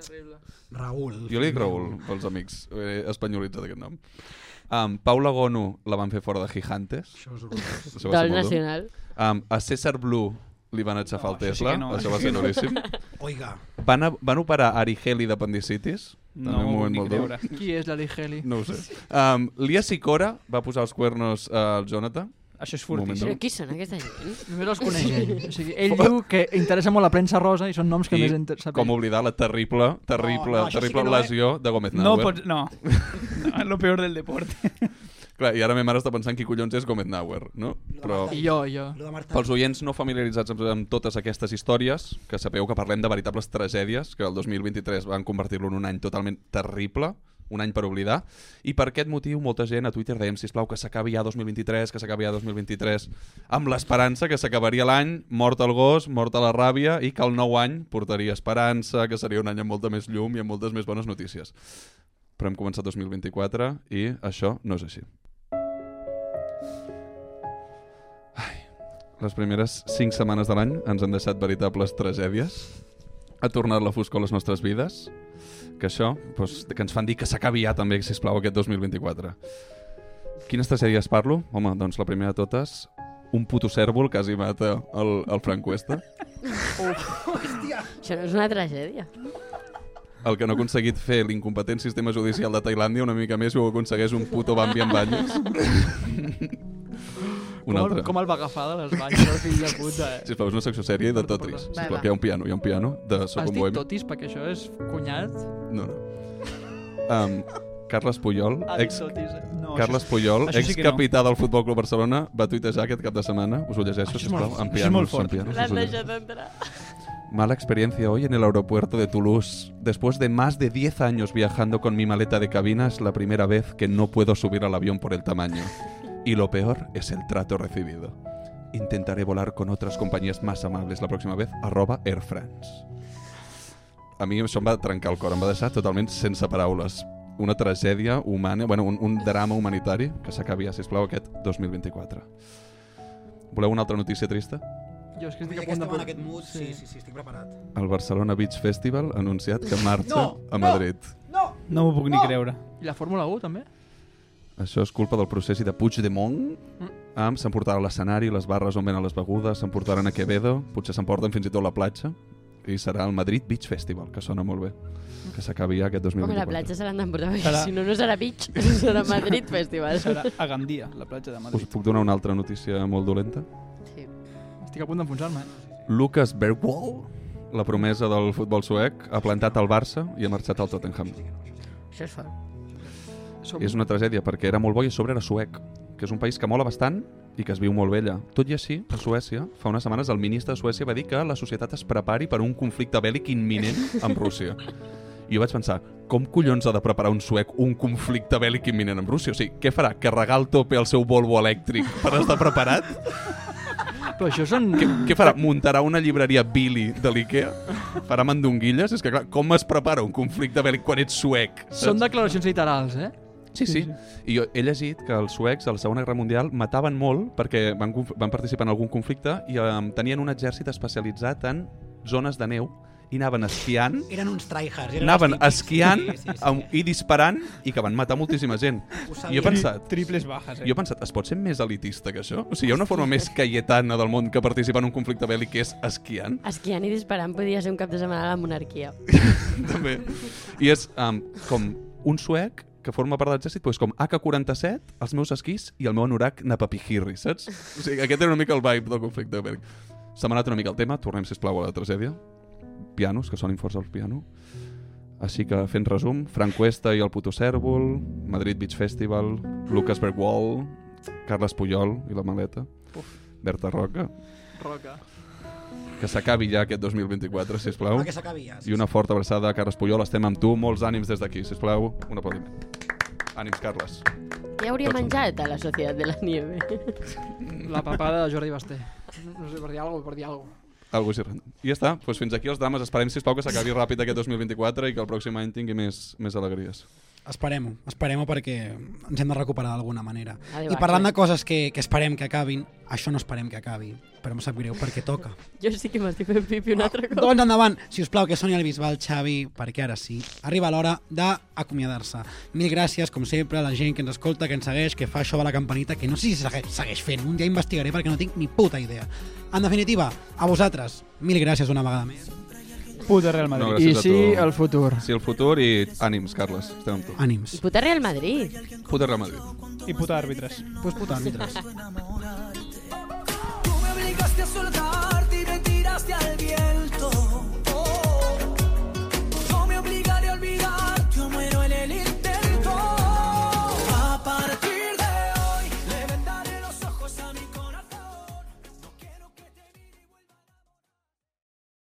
Raül.
Jo li dic Raúl, pels amics. He espanyolitzat aquest nom. Um, Paula Gonu la van fer fora de Gigantes.
Això és horrorós.
Això va ser
Dol
molt dur.
nacional.
Um, a César Blue li van aixafar
No,
el
això sí
Tesla.
que no, eh?
Això
això
va
sí
ser
que no.
duríssim.
Oiga,
Van, a, van operar a Arigeli d'apendicitis.
No
També un
ho
moment
puc ni
molt dur.
creure.
Qui és l'Ali Heli?
No ho sé. Um, Lia Sicora va posar els cuernos eh, al Jonathan.
Això és
Moment,
fortíssim.
Però qui són aquesta gent?
Només els coneix ell. O sigui, ell diu que interessa molt la premsa rosa i són noms que
I
més inter- sap
com
ell.
oblidar la terrible, terrible,
Oh,
No,
no,
no, això sí
terrible
que
sí
no, eh?
lesió de Gómez
No
Nauer.
pots... No. no. Lo peor del deporte.
Clar, I ara ma mare està pensant qui collons és Gómez Nauer, no? Però...
I jo, i jo.
lo de Marta...
Pels oients no familiaritzats amb, amb totes aquestes històries, que sapeu que parlem de veritables tragèdies, que el 2023 van convertir-lo en un any totalment terrible, un any per oblidar, i per aquest motiu molta gent a Twitter dèiem, sisplau, que s'acabi ja 2023, que s'acabi ja 2023, amb l'esperança que s'acabaria l'any, mort el gos, mort a la ràbia, i que el nou any portaria esperança, que seria un any amb molta més llum i amb moltes més bones notícies. Però hem començat 2024 i això no és així. les primeres 5 setmanes de l'any ens han deixat veritables tragèdies. Ha tornat la foscor a les nostres vides. Que això, doncs, que ens fan dir que s'acabi ja també, sisplau, aquest 2024. Quines tragèdies parlo? Home, doncs la primera de totes, un puto cèrvol que quasi mata el, el Frank Cuesta.
Això no és una tragèdia.
El que no ha aconseguit fer l'incompetent sistema judicial de Tailàndia una mica més i ho aconsegueix un puto Bambi amb banyes.
Com, el, com el va agafar de les banyes, el fill de puta, eh?
Sisplau, és una secció sèria i de
Perdó,
totris.
perdó.
Va,
Sisplau,
va.
que hi ha un piano, hi ha un piano de Soc
Has
un
dit
Bohemi.
totis perquè això és cunyat?
No, no. Um, Carles Puyol,
Ha dit
ex...
totis, eh?
Ah, No,
Carles Puyol,
això sí que no.
excapità del Futbol Club Barcelona, va tuitejar aquest cap de setmana, us ho llegeixo,
Això és
sisplau,
molt-
en
això és molt
pianos,
fort.
en pianos. us
L'han
ho llegeixo.
deixat entrar.
Mala experiencia hoy en el aeropuerto de Toulouse. Después de más de 10 años viajando con mi maleta de cabina, es la primera vez que no puedo subir al avión por el tamaño. Y lo peor es el trato recibido. Intentaré volar con otras compañías más amables la próxima vez. Arroba Air France. A mi això em va trencar el cor, em va deixar totalment sense paraules. Una tragèdia humana, bueno, un, un drama humanitari que s'acabi, ja, sisplau, aquest 2024. Voleu una altra notícia trista?
Jo és que estic
Mira
a
que
punt de...
estem en aquest mood, sí, sí, sí, estic preparat.
El Barcelona Beach Festival ha anunciat que marxa
No,
a
no.
Madrid.
No m'ho puc ni creure.
I la Fórmula 1, també?
Això és culpa del procés i de Puigdemont. Mm. S'emportarà a l'escenari, les barres on venen les begudes, s'emportaran a Quevedo, potser s'emporten fins i tot la platja, i serà el Madrid Beach Festival, que sona molt bé. Que s'acabi ja aquest 2024.
Home, la platja se l'han d'emportar, perquè
Serà-
si no, no serà Beach, serà Madrid Festival.
Serà a Gandia, la platja de
Us
Madrid.
puc donar una altra notícia molt dolenta?
Sí.
Estic a punt d'enfonsar-me, eh?
Lucas Bergwall, la promesa del futbol suec, ha plantat el Barça i ha marxat al Tottenham.
Això és fort.
Som...
És una tragèdia perquè era molt bo i a sobre era suec, que és un país que mola bastant i que es viu molt vella. Tot i així, a Suècia, fa unes setmanes el ministre de Suècia va dir que la societat es prepari per un conflicte bèl·lic imminent amb Rússia. I jo vaig pensar, com collons ha de preparar un suec un conflicte bèl·lic imminent amb Rússia? O sigui, què farà? Carregar el tope al seu Volvo elèctric per estar preparat?
Però això són...
Què, què farà? Muntarà una llibreria Billy de l'IKEA? Farà mandonguilles? És que clar, com es prepara un conflicte bèl·lic quan ets suec? saps?
Són declaracions literals, eh?
Sí, sí. I jo he llegit que els suecs a la Segona Guerra Mundial mataven molt perquè van, conf- van participar en algun conflicte i um, tenien un exèrcit especialitzat en zones de neu i anaven esquiant
Eren uns tryhards. Eren
anaven
uns típics.
esquiant amb- i disparant i que van matar moltíssima gent.
Ho
I jo he
sabia.
pensat,
Triples bajas, eh?
jo he pensat, es pot ser més elitista que això? O sigui, hi ha una forma més caietana del món que participar en un conflicte bèl·lic que és esquiant?
Esquiant i disparant podia ser un cap de setmana a la monarquia.
també. I és um, com un suec que forma part de l'exèrcit, doncs com AK-47, els meus esquís i el meu anorac napapijirri, saps? O sigui, aquest era una mica el vibe del conflicte. Berg. S'ha manat una mica el tema, tornem, sisplau, a la tragèdia. Pianos, que sonin forts al piano. Així que, fent resum, Frank Cuesta i el puto cèrvol, Madrid Beach Festival, Lucas Bergwall, Carles Puyol i la maleta, Berta Roca,
Roca.
que s'acabi ja aquest 2024, sisplau.
Va, que s'acabi ja.
I una forta abraçada, Carles Puyol, estem amb tu, molts ànims des d'aquí, sisplau, un aplaudiment. Ànims, Carles.
Què hauria
Tots
menjat a la Societat de la Nieve?
La papada de Jordi Basté. No sé, per dir alguna cosa, per dir alguna cosa.
Algo així random. I ja està, doncs fins aquí els drames. Esperem, sisplau, que s'acabi ràpid aquest 2024 i que el pròxim any tingui més, més alegries.
Esperem-ho, esperem-ho perquè ens hem de recuperar d'alguna manera.
Adéu,
I parlant
Axel.
de coses que, que esperem que acabin, això no esperem que acabi, però em sap greu perquè toca.
Jo sí que m'estic fent pipi un altre cop.
doncs endavant, si us plau, que soni el Bisbal Xavi, perquè ara sí, arriba l'hora d'acomiadar-se. Mil gràcies, com sempre, a la gent que ens escolta, que ens segueix, que fa això de la campanita, que no sé si segueix, segueix fent, un dia investigaré perquè no tinc ni puta idea. En definitiva, a vosaltres, mil gràcies una vegada més.
Puta Real Madrid.
No,
I
gràcies a
sí,
tu.
el futur.
Sí, el futur i ànims, Carles. Estem amb tu.
Ànims.
Puta Real Madrid.
Puta Real Madrid.
I puta àrbitres.
Pues puta, àrbitres.
Tú me obligaste a soltar